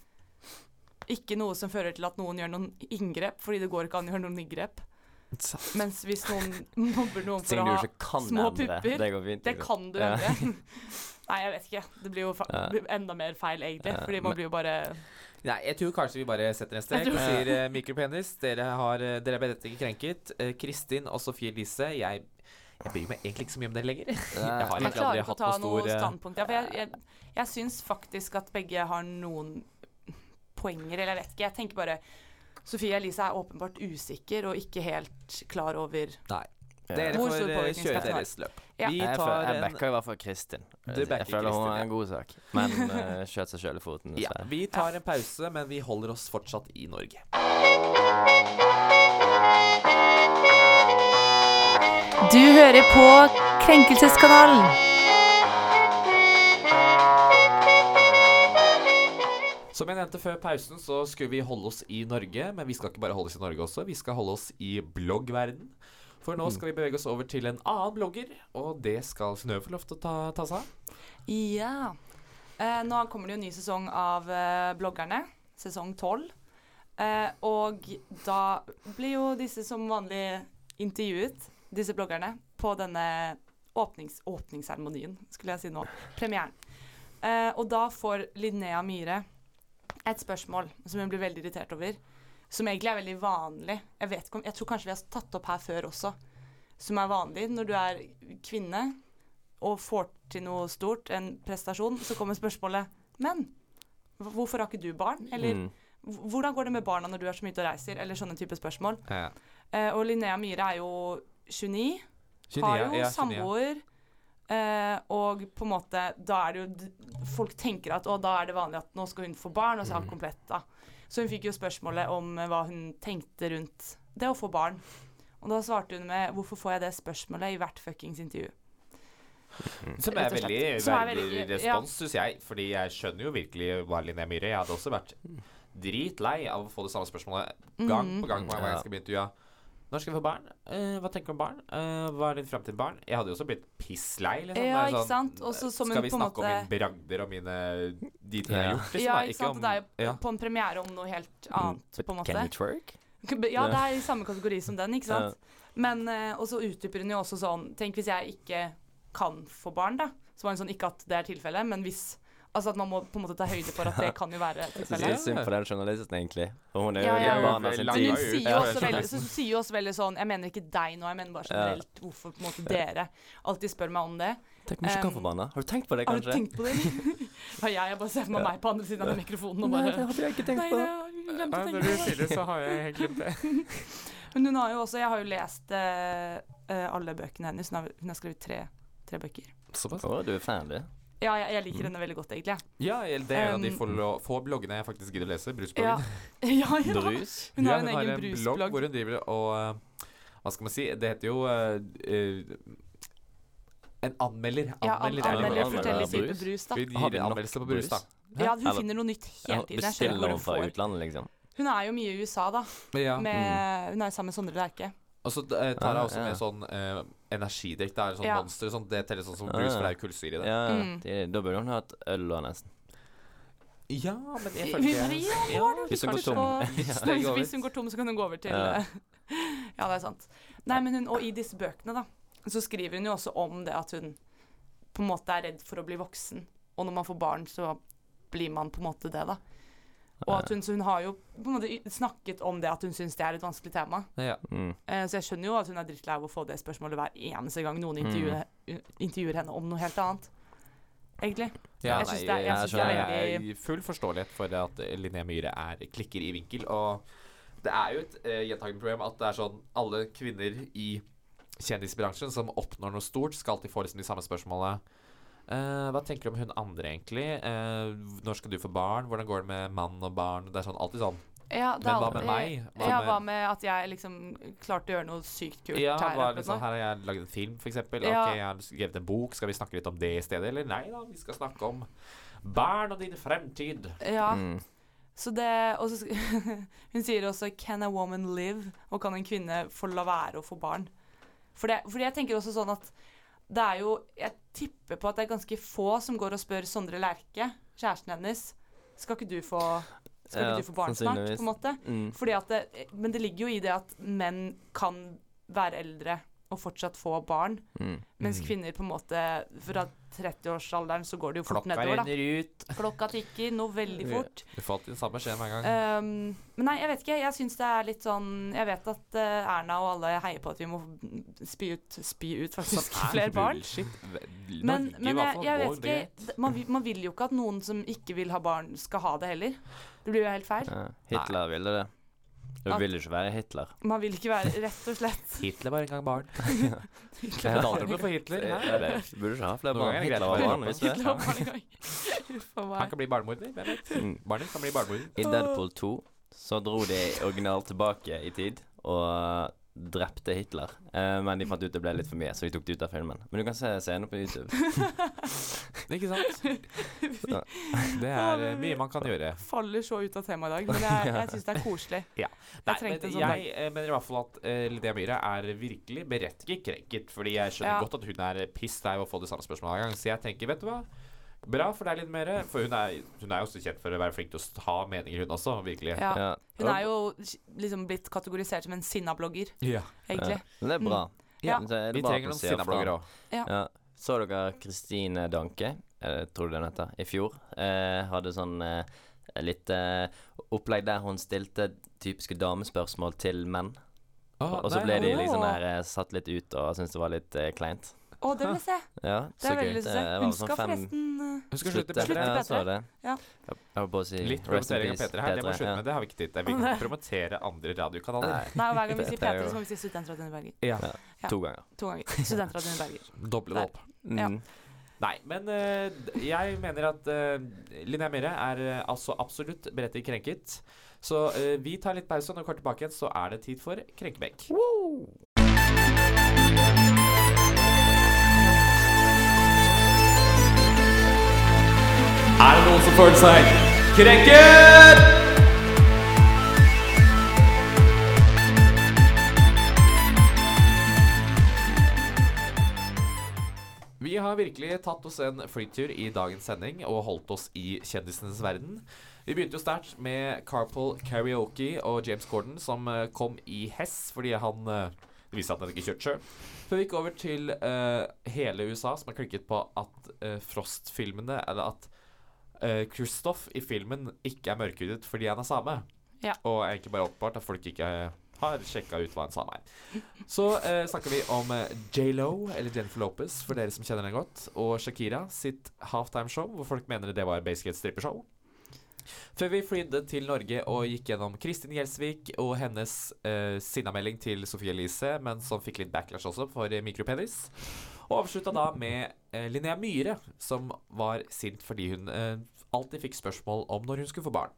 [SPEAKER 3] ikke noe som fører til at noen gjør noen inngrep, fordi det går ikke an å gjøre noen inngrep. Mens hvis noen mobber noen for
[SPEAKER 4] Ting
[SPEAKER 3] å
[SPEAKER 4] du
[SPEAKER 3] ha
[SPEAKER 4] ikke kan
[SPEAKER 3] små
[SPEAKER 4] endre.
[SPEAKER 3] pupper,
[SPEAKER 4] Det går fint.
[SPEAKER 3] Det kan du
[SPEAKER 4] Ja.
[SPEAKER 3] endre. Nei, jeg vet ikke. Det blir jo fa
[SPEAKER 4] Ja.
[SPEAKER 3] blir enda mer feil, egentlig.
[SPEAKER 4] Ja,
[SPEAKER 3] Fordi man
[SPEAKER 4] men-
[SPEAKER 3] blir jo bare
[SPEAKER 2] Nei, jeg tror kanskje vi bare setter en strek
[SPEAKER 3] Jeg
[SPEAKER 2] og
[SPEAKER 3] tror-
[SPEAKER 2] sier eh, mikropenis. Dere, har, eh, dere er berettiget krenket. Eh, Kristin og Sofie Elise, jeg, jeg bryr meg egentlig ikke så mye om dere lenger. Jeg har
[SPEAKER 3] Jeg
[SPEAKER 2] egentlig aldri
[SPEAKER 3] klarer ikke å
[SPEAKER 2] hatt
[SPEAKER 3] ta
[SPEAKER 2] noe
[SPEAKER 3] noe
[SPEAKER 2] stor eh,
[SPEAKER 3] standpunkt. Ja, for jeg, jeg, jeg syns faktisk at begge har noen poenger, eller jeg vet ikke. Jeg tenker bare Sofie Elise er åpenbart usikker og ikke helt klar over
[SPEAKER 2] Nei. Dere
[SPEAKER 3] Hvor
[SPEAKER 2] får
[SPEAKER 3] stor
[SPEAKER 2] eh,
[SPEAKER 3] påvirkning skal
[SPEAKER 2] kjøre
[SPEAKER 3] det ha?
[SPEAKER 2] deres løp.
[SPEAKER 3] Ja.
[SPEAKER 2] Vi
[SPEAKER 4] Jeg, føler, jeg
[SPEAKER 2] tar en
[SPEAKER 4] backer i hvert fall Kristin. Jeg
[SPEAKER 2] backer
[SPEAKER 4] føler hun
[SPEAKER 2] Kristin,
[SPEAKER 4] er
[SPEAKER 2] ja.
[SPEAKER 4] en god sak, men uh, skjøt seg sjøl i foten.
[SPEAKER 2] Ja,
[SPEAKER 4] dessverre.
[SPEAKER 2] vi tar en pause, men vi holder oss fortsatt i Norge.
[SPEAKER 5] Du hører på Krenkelseskanalen.
[SPEAKER 2] Som jeg nevnte før pausen, så skulle vi holde oss i Norge, men vi skal ikke bare holde oss i Norge også, vi skal holde oss i bloggverden. For
[SPEAKER 3] Mm.
[SPEAKER 2] nå skal vi bevege oss over til en annen blogger, og det skal Synnøve få lov til å ta, ta seg av.
[SPEAKER 3] Ja. Eh, nå kommer det jo en ny sesong av eh, bloggerne, sesong tolv. Eh, og da blir jo disse som vanlig intervjuet, disse bloggerne, på denne åpnings åpningsseremonien, skulle jeg si nå. Premieren. Eh, og da får Linnea Myhre et spørsmål som hun blir veldig irritert over. Som egentlig er veldig vanlig. Jeg, vet ikke om, jeg tror kanskje vi har tatt opp her før også. Som er vanlig når du er kvinne og får til noe stort, en prestasjon, så kommer spørsmålet Men hv- hvorfor har ikke du barn? Eller
[SPEAKER 4] Mm.
[SPEAKER 3] "Hv- hvordan går det med barna når du er så mye ute og reiser? Eller sånne type spørsmål.
[SPEAKER 2] Ja.
[SPEAKER 3] Eh, og Linnea Myhre er jo 29, har jo samboer. Eh, og på en måte, da er det jo d- Folk tenker at å, da er det vanlig at nå skal hun få barn, og så er alt komplett, da. Så hun fikk jo spørsmålet om eh, hva hun tenkte rundt det å få barn. Og da svarte hun med 'Hvorfor får jeg det spørsmålet i hvert fuckings intervju?'
[SPEAKER 2] Som er
[SPEAKER 3] Rett og slett.
[SPEAKER 2] veldig
[SPEAKER 3] Som er
[SPEAKER 2] veldig
[SPEAKER 3] veldig-
[SPEAKER 2] respons, syns jeg. Fordi jeg skjønner jo virkelig hva Linnea Myhre Jeg hadde også vært dritlei av å få det samme spørsmålet gang
[SPEAKER 3] Mm.
[SPEAKER 2] på gang. på gang
[SPEAKER 4] Ja.
[SPEAKER 2] jeg skal bli intervjua. Når skal vi få barn? Eh, hva tenker du om barn? Eh, hva er din framtid barn? Jeg hadde jo også blitt pisslei. Liksom.
[SPEAKER 3] Ja,
[SPEAKER 2] Det er
[SPEAKER 3] ikke sant? Også som
[SPEAKER 2] skal
[SPEAKER 3] en
[SPEAKER 2] vi
[SPEAKER 3] på en
[SPEAKER 2] snakke om
[SPEAKER 3] måte-
[SPEAKER 2] mine bragder og mine de tingene jeg
[SPEAKER 4] Ja.
[SPEAKER 2] har gjort? Liksom,
[SPEAKER 3] ja,
[SPEAKER 2] da,
[SPEAKER 3] ikke sant.
[SPEAKER 2] om-
[SPEAKER 3] det er jo
[SPEAKER 2] ja.
[SPEAKER 3] på en premiere om noe helt
[SPEAKER 4] Mm.
[SPEAKER 3] annet, på en måte.
[SPEAKER 4] Can you twerk?
[SPEAKER 3] Ja, det er i samme kategori som den, ikke sant? Men, eh, og så utdyper hun jo også sånn Tenk hvis jeg ikke kan få barn, da. Så var hun sånn Ikke at det er tilfellet, men hvis Altså at man må på en måte ta høyde for at det kan jo være
[SPEAKER 4] Jeg syns
[SPEAKER 3] tilfellet.
[SPEAKER 4] det er synd for den journalisten, egentlig. Og hun er jo
[SPEAKER 3] Ja, ja.
[SPEAKER 4] litt barna sin
[SPEAKER 2] Men
[SPEAKER 3] Men
[SPEAKER 2] Ja,
[SPEAKER 3] hun
[SPEAKER 4] tid.
[SPEAKER 2] ja, ja,
[SPEAKER 3] sier jo
[SPEAKER 2] ja,
[SPEAKER 3] også
[SPEAKER 2] ja.
[SPEAKER 3] veldig, så sier jo også veldig sånn Jeg mener ikke deg nå, jeg mener bare generelt hvorfor på en måte dere alltid spør meg om det.
[SPEAKER 4] Tenk om hun ikke
[SPEAKER 3] Um,
[SPEAKER 4] kan få barna. Har du tenkt på det,
[SPEAKER 3] Har du
[SPEAKER 4] kanskje?
[SPEAKER 3] tenkt på det? eller? Ja, jeg, jeg bare ser for meg meg på andre siden av den mikrofonen og bare
[SPEAKER 4] hadde jeg ikke tenkt
[SPEAKER 3] Nei, det har jeg glemt
[SPEAKER 2] Eh,
[SPEAKER 3] å tenke på.
[SPEAKER 2] så har jeg helt glemt det.
[SPEAKER 3] Men hun har jo også, jeg har jo lest eh, eh, alle bøkene hennes. Hun har, hun har skrevet tre, tre bøker.
[SPEAKER 2] Såpass.
[SPEAKER 4] Å, du er fan, du.
[SPEAKER 3] Ja, jeg, jeg liker henne veldig godt, egentlig. jeg.
[SPEAKER 2] Ja, det er en av de
[SPEAKER 3] Um,
[SPEAKER 2] få, få bloggene jeg faktisk gidder å lese. Brusbloggen.
[SPEAKER 3] Ja. ja, ja.
[SPEAKER 4] Drus.
[SPEAKER 3] Hun
[SPEAKER 2] Ja,
[SPEAKER 3] har en egen
[SPEAKER 2] blogg
[SPEAKER 3] brusblogg.
[SPEAKER 2] hvor hun driver og eh, Hva skal man si? Det heter jo eh, eh, En anmelder.
[SPEAKER 3] Ja, an
[SPEAKER 2] Anmelder. er det
[SPEAKER 3] anmelder
[SPEAKER 2] vel.
[SPEAKER 4] anmelder,
[SPEAKER 3] forskjellige
[SPEAKER 4] brus.
[SPEAKER 3] typer brus, da.
[SPEAKER 2] Hun gir
[SPEAKER 4] Har vi
[SPEAKER 2] en
[SPEAKER 4] nok
[SPEAKER 2] anmeldelse på brus,
[SPEAKER 4] brus?
[SPEAKER 2] da.
[SPEAKER 3] Ja, hun
[SPEAKER 4] Eller-
[SPEAKER 3] finner noe nytt hele tiden. Jeg skjønner ikke
[SPEAKER 4] Bestiller
[SPEAKER 3] hvor
[SPEAKER 4] hun
[SPEAKER 3] hun
[SPEAKER 4] fra
[SPEAKER 3] får.
[SPEAKER 4] utlandet, liksom?
[SPEAKER 3] Hun er jo mye i USA, da.
[SPEAKER 2] Ja.
[SPEAKER 3] Med, hun er jo sammen med Sondre Lerche.
[SPEAKER 2] Og så eh, tar hun
[SPEAKER 4] Ah,
[SPEAKER 2] også
[SPEAKER 4] ja.
[SPEAKER 2] med sånn eh, energidrikk. Det er sånn
[SPEAKER 3] Ja.
[SPEAKER 2] monster og sånt. Det teller sånn som
[SPEAKER 4] Ah,
[SPEAKER 2] brus,
[SPEAKER 4] ja.
[SPEAKER 2] for det er jo kullsyre i det.
[SPEAKER 4] Ja,
[SPEAKER 3] Mm.
[SPEAKER 4] de- Da burde hun hatt øl og nesten.
[SPEAKER 2] Ja, men jeg
[SPEAKER 3] Vi-
[SPEAKER 2] føler
[SPEAKER 3] vi
[SPEAKER 2] ikke
[SPEAKER 3] har det
[SPEAKER 4] Hvis hun går
[SPEAKER 3] kanskje
[SPEAKER 4] tom.
[SPEAKER 3] på-
[SPEAKER 2] Ja. Steg over.
[SPEAKER 3] Hvis hun går tom, så kan hun gå over til
[SPEAKER 4] Ja.
[SPEAKER 3] eh, Ja, det er sant. Nei, men hun, og i disse bøkene, da, så skriver hun jo også om det at hun på en måte er redd for å bli voksen. Og når man får barn, så blir man på en måte det, da. Og at hun, så hun har jo på en måte y- snakket om det at hun syns det er et vanskelig tema.
[SPEAKER 2] ja.
[SPEAKER 4] Mm.
[SPEAKER 3] Eh, Så jeg skjønner jo at hun er drittlei av å få det spørsmålet hver eneste gang noen intervjuer, intervjuer henne om noe helt annet. Egentlig.
[SPEAKER 2] Ja,
[SPEAKER 3] Jeg
[SPEAKER 2] nei,
[SPEAKER 3] synes det er- jeg synes
[SPEAKER 4] det er
[SPEAKER 2] skjønner.
[SPEAKER 3] veldig-
[SPEAKER 2] Jeg er full forståelighet for at Linnea Myhre er klikker i vinkel. Og det er jo et eh, gjentagende problem at det er sånn alle kvinner i kjendisbransjen som oppnår noe stort, skal alltid få liksom de samme spørsmålene. Eh, hva tenker du om hun andre, egentlig? Eh, når skal du få barn? Hvordan går det med mann og barn? Det er sånn, alltid sånn.
[SPEAKER 3] Ja, det
[SPEAKER 2] Men hva
[SPEAKER 3] er
[SPEAKER 2] med
[SPEAKER 3] alltid-
[SPEAKER 2] meg? Hva
[SPEAKER 3] ja,
[SPEAKER 2] med-
[SPEAKER 3] hva med at jeg liksom klarte å gjøre noe sykt kult
[SPEAKER 2] Ja,
[SPEAKER 3] her?
[SPEAKER 2] bare
[SPEAKER 3] oppe
[SPEAKER 2] liksom,
[SPEAKER 3] nå?
[SPEAKER 2] her har jeg lagd en film, f.eks. eksempel
[SPEAKER 3] Ja.
[SPEAKER 2] Ok, jeg har skrevet en bok. Skal vi snakke litt om det i stedet? Eller nei da, vi skal snakke om barn og din fremtid.
[SPEAKER 3] Ja,
[SPEAKER 4] Mm.
[SPEAKER 3] så det Og så sk- Hun sier også 'Can a woman live?' og 'Kan en kvinne få la være å få barn?' For det, fordi jeg tenker også sånn at det er jo Jeg tipper på at det er ganske få som går og spør Sondre Lerche, kjæresten hennes, skal ikke du få, skal
[SPEAKER 4] Ja,
[SPEAKER 3] ikke du få barn snart,
[SPEAKER 4] sannsynligvis.
[SPEAKER 3] på en måte.
[SPEAKER 4] Mm.
[SPEAKER 3] Fordi at det, men det ligger jo i det at menn kan være eldre og fortsatt få barn,
[SPEAKER 4] Mm.
[SPEAKER 3] mens
[SPEAKER 2] Mm.
[SPEAKER 3] kvinner på en måte Fra 30-årsalderen så går det jo fort
[SPEAKER 4] Klokka
[SPEAKER 3] nedover, da.
[SPEAKER 4] renner ut.
[SPEAKER 3] Klokka tikker noe veldig
[SPEAKER 4] Ja.
[SPEAKER 3] fort.
[SPEAKER 2] Du får alltid den samme beskjeden hver gang.
[SPEAKER 3] Um, men nei, jeg vet ikke. Jeg syns det er litt sånn Jeg vet at eh, Erna og alle heier på at vi må spy ut, spy ut faktisk
[SPEAKER 2] Sånn er
[SPEAKER 3] flere barn.
[SPEAKER 2] Bullshit.
[SPEAKER 3] Men,
[SPEAKER 2] Norge, i
[SPEAKER 3] men
[SPEAKER 2] hvert
[SPEAKER 3] jeg,
[SPEAKER 2] fall,
[SPEAKER 3] jeg
[SPEAKER 2] går
[SPEAKER 3] vet
[SPEAKER 2] det greit?
[SPEAKER 3] ikke d- man, vil- man vil jo ikke at noen som ikke vil ha barn, skal ha det heller. Det blir jo helt feil.
[SPEAKER 4] Ja. Hitler ville det. Du
[SPEAKER 3] At-
[SPEAKER 4] vil jo ikke være Hitler.
[SPEAKER 3] Man vil ikke være Rett og slett.
[SPEAKER 2] Hitler var en gang barn.
[SPEAKER 4] Ja.
[SPEAKER 2] Datteren ble for Hitler.
[SPEAKER 4] Ja,
[SPEAKER 2] Hæ?
[SPEAKER 4] det- Du burde ikke ha flere
[SPEAKER 2] Noen
[SPEAKER 4] barn.
[SPEAKER 2] ganger er det greit å
[SPEAKER 4] Hitler var
[SPEAKER 2] være
[SPEAKER 4] barn,
[SPEAKER 2] barn.
[SPEAKER 4] visste du det?
[SPEAKER 3] La meg en gang. Uff a
[SPEAKER 2] Han
[SPEAKER 3] meg.
[SPEAKER 2] kan bli barnemorder. hvem vet?
[SPEAKER 4] Mm.
[SPEAKER 2] Barnet kan bli barnemorder.
[SPEAKER 4] I Deadpool 2 så dro de originalt tilbake i tid og drepte Hitler. Eh, men de fant ut det ble litt for mye, så de tok det ut av filmen. Men du kan se scenen på YouTube.
[SPEAKER 2] Ikke sant?
[SPEAKER 4] Ja.
[SPEAKER 2] Det er eh, mye man kan gjøre.
[SPEAKER 3] Faller så ut av temaet i dag, men jeg, jeg syns det er koselig.
[SPEAKER 2] Ja.
[SPEAKER 3] Jeg trengte en
[SPEAKER 2] men
[SPEAKER 3] sånn dag.
[SPEAKER 2] jeg eh, mener i hvert fall at eh, Lydia Myhre er virkelig berettiget krenket. Fordi jeg skjønner
[SPEAKER 3] Ja.
[SPEAKER 2] godt at hun er piss lei av å få det samme spørsmålet hver gang. Så jeg tenker, vet du hva? Bra for deg litt mer. For hun er, hun er jo også kjent for å være flink til å ha meninger, hun også. Virkelig.
[SPEAKER 3] Ja.
[SPEAKER 4] Ja.
[SPEAKER 3] Hun er jo liksom blitt kategorisert som en sinna-blogger,
[SPEAKER 2] Ja.
[SPEAKER 3] egentlig. Mm.
[SPEAKER 4] Ja. Men det er bra.
[SPEAKER 3] Ja.
[SPEAKER 4] Men så er det
[SPEAKER 2] Vi
[SPEAKER 4] bra at
[SPEAKER 2] trenger
[SPEAKER 4] hun
[SPEAKER 2] noen
[SPEAKER 4] sier
[SPEAKER 2] sinnablogger
[SPEAKER 4] fra.
[SPEAKER 2] òg.
[SPEAKER 4] Ja. Så dere Kristine Danke, eh, tror du det hun heter, i fjor? Eh, hadde sånn eh, litt eh, opplegg der hun stilte typiske damespørsmål til menn. Og så ble de
[SPEAKER 3] Åh.
[SPEAKER 4] liksom der eh, satt litt ut og syntes det var litt eh, kleint.
[SPEAKER 3] Å, det vil jeg se.
[SPEAKER 4] Ja,
[SPEAKER 3] Det
[SPEAKER 4] så
[SPEAKER 3] er veldig
[SPEAKER 4] gøy.
[SPEAKER 3] lyst til å
[SPEAKER 4] Det
[SPEAKER 3] se.
[SPEAKER 4] var
[SPEAKER 3] Hun
[SPEAKER 4] sånn
[SPEAKER 3] skal
[SPEAKER 4] fem-
[SPEAKER 3] forresten eh,
[SPEAKER 2] Hun skal slutte
[SPEAKER 4] Slutte.
[SPEAKER 2] bedre.
[SPEAKER 3] P3.
[SPEAKER 4] Ja, jeg så det.
[SPEAKER 3] Ja.
[SPEAKER 4] Jeg jeg holdt på å si
[SPEAKER 2] Litt
[SPEAKER 4] rest in
[SPEAKER 2] promotering av
[SPEAKER 4] peace,
[SPEAKER 2] P3 her, det må
[SPEAKER 4] P3,
[SPEAKER 2] slutte
[SPEAKER 4] ja.
[SPEAKER 2] med. Det har vi ikke tid til. Vi kan ikke promotere andre radiokanaler.
[SPEAKER 4] Nei,
[SPEAKER 3] Nei, og hver gang vi sier
[SPEAKER 4] Det er jo-
[SPEAKER 3] P3, så må vi si Studentradioen i Bergen.
[SPEAKER 2] Ja.
[SPEAKER 3] Ja.
[SPEAKER 4] to ganger.
[SPEAKER 3] To ganger. Studentradioen i Bergen.
[SPEAKER 2] Doble det opp.
[SPEAKER 3] Ja.
[SPEAKER 4] Mm.
[SPEAKER 2] Nei, men eh, d- jeg mener at eh, Linnea Myhre er eh, altså absolutt berettiget krenket. Så eh, vi tar litt pause, og når vi kommer tilbake igjen, så er det tid for krenkebenk. Er det noen som føler seg krenket? Vi har virkelig tatt oss en flytur i dagens sending og holdt oss i kjendisenes verden. Vi begynte jo sterkt med Carpool Karaoke og James Corden som eh, kom i hess fordi han eh, Det viste seg at han ikke kjørte sjøl. Før vi gikk over til eh, hele USA, som har klikket på at eh, Frost-filmene Eller at eh, Kristoff i filmen ikke er mørkhudet fordi han er same.
[SPEAKER 3] Ja.
[SPEAKER 2] Og er egentlig bare åpenbart at folk ikke eh, har sjekka ut hva en same er. Så eh, snakker vi om eh, J.Lo, eller Jennifer Lopez, for dere som kjenner henne godt, og Shakira sitt halftime-show, hvor folk mener det var basically et strippeshow. Før vi flydde til Norge og gikk gjennom Kristin Gjelsvik og hennes eh, sinnamelding til Sofie Elise, men som fikk litt backlash også for eh, mikropenis. Og avslutta da med eh, Linnea Myhre, som var sint fordi hun eh, alltid fikk spørsmål om når hun skulle få barn.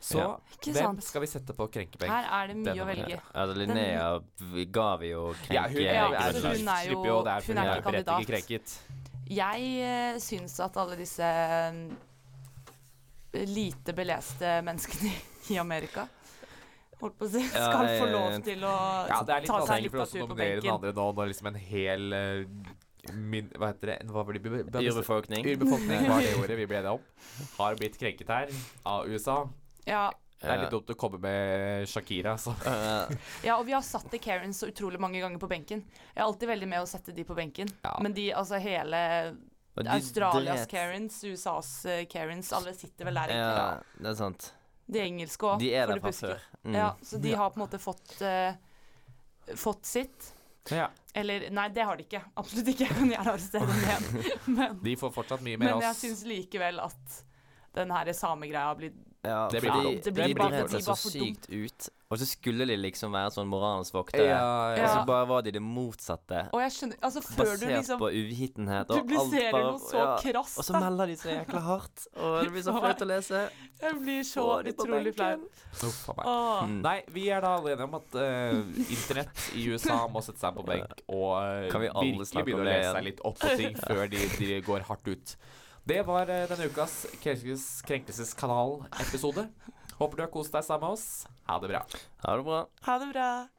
[SPEAKER 2] Så
[SPEAKER 4] Ja.
[SPEAKER 3] Ikke
[SPEAKER 2] hvem
[SPEAKER 3] sant.
[SPEAKER 2] skal vi sette på krenkebenk?
[SPEAKER 3] Her er det mye
[SPEAKER 2] Denne
[SPEAKER 3] å velge.
[SPEAKER 4] Altså, Linnea v- ga vi jo krenke
[SPEAKER 2] Ja, hun, er,
[SPEAKER 3] Ja,
[SPEAKER 2] sånn-
[SPEAKER 3] altså, hun er jo-
[SPEAKER 2] slipper jo det
[SPEAKER 3] hun er ikke
[SPEAKER 2] berettiget
[SPEAKER 3] kandidat.
[SPEAKER 2] krenket.
[SPEAKER 3] Jeg uh, syns at alle disse eh, lite beleste menneskene i Amerika holdt på å si,
[SPEAKER 4] Ja,
[SPEAKER 3] skal få
[SPEAKER 4] jeg-
[SPEAKER 3] lov til å
[SPEAKER 2] Ja, det er litt
[SPEAKER 3] ta seg
[SPEAKER 2] vanskelig
[SPEAKER 3] en
[SPEAKER 2] for
[SPEAKER 3] liten
[SPEAKER 2] oss å
[SPEAKER 3] tur på
[SPEAKER 2] nominere den
[SPEAKER 3] benken.
[SPEAKER 2] andre nå når liksom en hel eh, min, Hva heter det? Hva blir det?
[SPEAKER 4] Urbefolkning.
[SPEAKER 2] Urbefolkning var det ordet vi ble enige om. Har blitt krenket her av USA.
[SPEAKER 3] Ja,
[SPEAKER 2] Det er litt dumt å komme med Shakira, så
[SPEAKER 4] Ja.
[SPEAKER 3] Ja, og vi har satt The Karens så utrolig mange ganger på benken. Jeg er alltid veldig med å sette de på benken.
[SPEAKER 2] Ja.
[SPEAKER 3] Men de, altså hele
[SPEAKER 4] Og de
[SPEAKER 3] Australias
[SPEAKER 4] dret-
[SPEAKER 3] Karens, USAs eh, Karens, alle sitter vel der. egentlig.
[SPEAKER 4] Ja, det er sant.
[SPEAKER 3] De engelske òg.
[SPEAKER 4] De er der fra før. Mm.
[SPEAKER 3] Ja, så de har på en måte fått, eh, fått sitt.
[SPEAKER 2] ja.
[SPEAKER 3] Eller nei, det har de ikke. Absolutt ikke. Men jeg er arrestert igjen. Men,
[SPEAKER 2] De får fortsatt mye mer
[SPEAKER 3] men
[SPEAKER 2] av
[SPEAKER 3] jeg
[SPEAKER 2] oss.
[SPEAKER 3] syns likevel at den her samegreia blir
[SPEAKER 4] Ja,
[SPEAKER 2] Det blir for
[SPEAKER 4] fordi
[SPEAKER 2] dumt.
[SPEAKER 3] Det blir
[SPEAKER 4] de
[SPEAKER 3] bare-
[SPEAKER 4] bredte
[SPEAKER 3] de
[SPEAKER 4] seg
[SPEAKER 3] var for
[SPEAKER 4] så sykt ut. Og så skulle de liksom være sånn moralens voktere.
[SPEAKER 2] Ja,
[SPEAKER 4] Og
[SPEAKER 2] ja.
[SPEAKER 4] så bare var de det motsatte.
[SPEAKER 3] Og jeg skjønner Altså, før
[SPEAKER 4] Basert
[SPEAKER 3] du liksom
[SPEAKER 4] på uvitenhet.
[SPEAKER 3] Du publiserer
[SPEAKER 4] bare-
[SPEAKER 3] noe så krast,
[SPEAKER 4] Og så
[SPEAKER 3] da.
[SPEAKER 4] melder de så jækla hardt, og det blir så
[SPEAKER 3] Hva?
[SPEAKER 4] flaut å lese.
[SPEAKER 3] Jeg blir så
[SPEAKER 4] Få de på
[SPEAKER 3] utrolig flau.
[SPEAKER 4] benken.
[SPEAKER 2] Uff a meg.
[SPEAKER 3] Åh.
[SPEAKER 4] Mm.
[SPEAKER 2] Nei, vi er da alle enige om at eh, internett i USA må sette seg på benk og eh,
[SPEAKER 4] Kan vi alle snakke
[SPEAKER 2] virkelig begynne
[SPEAKER 4] om
[SPEAKER 2] å
[SPEAKER 4] det
[SPEAKER 2] lese
[SPEAKER 4] igjen?
[SPEAKER 2] seg litt opp på ting før de, de går hardt ut. Det var eh, denne ukas Krenkes- Krenkelseskanal-episode. Håper du har kost deg sammen med oss. Ha det bra.
[SPEAKER 4] Ha det bra.
[SPEAKER 3] Ha det bra.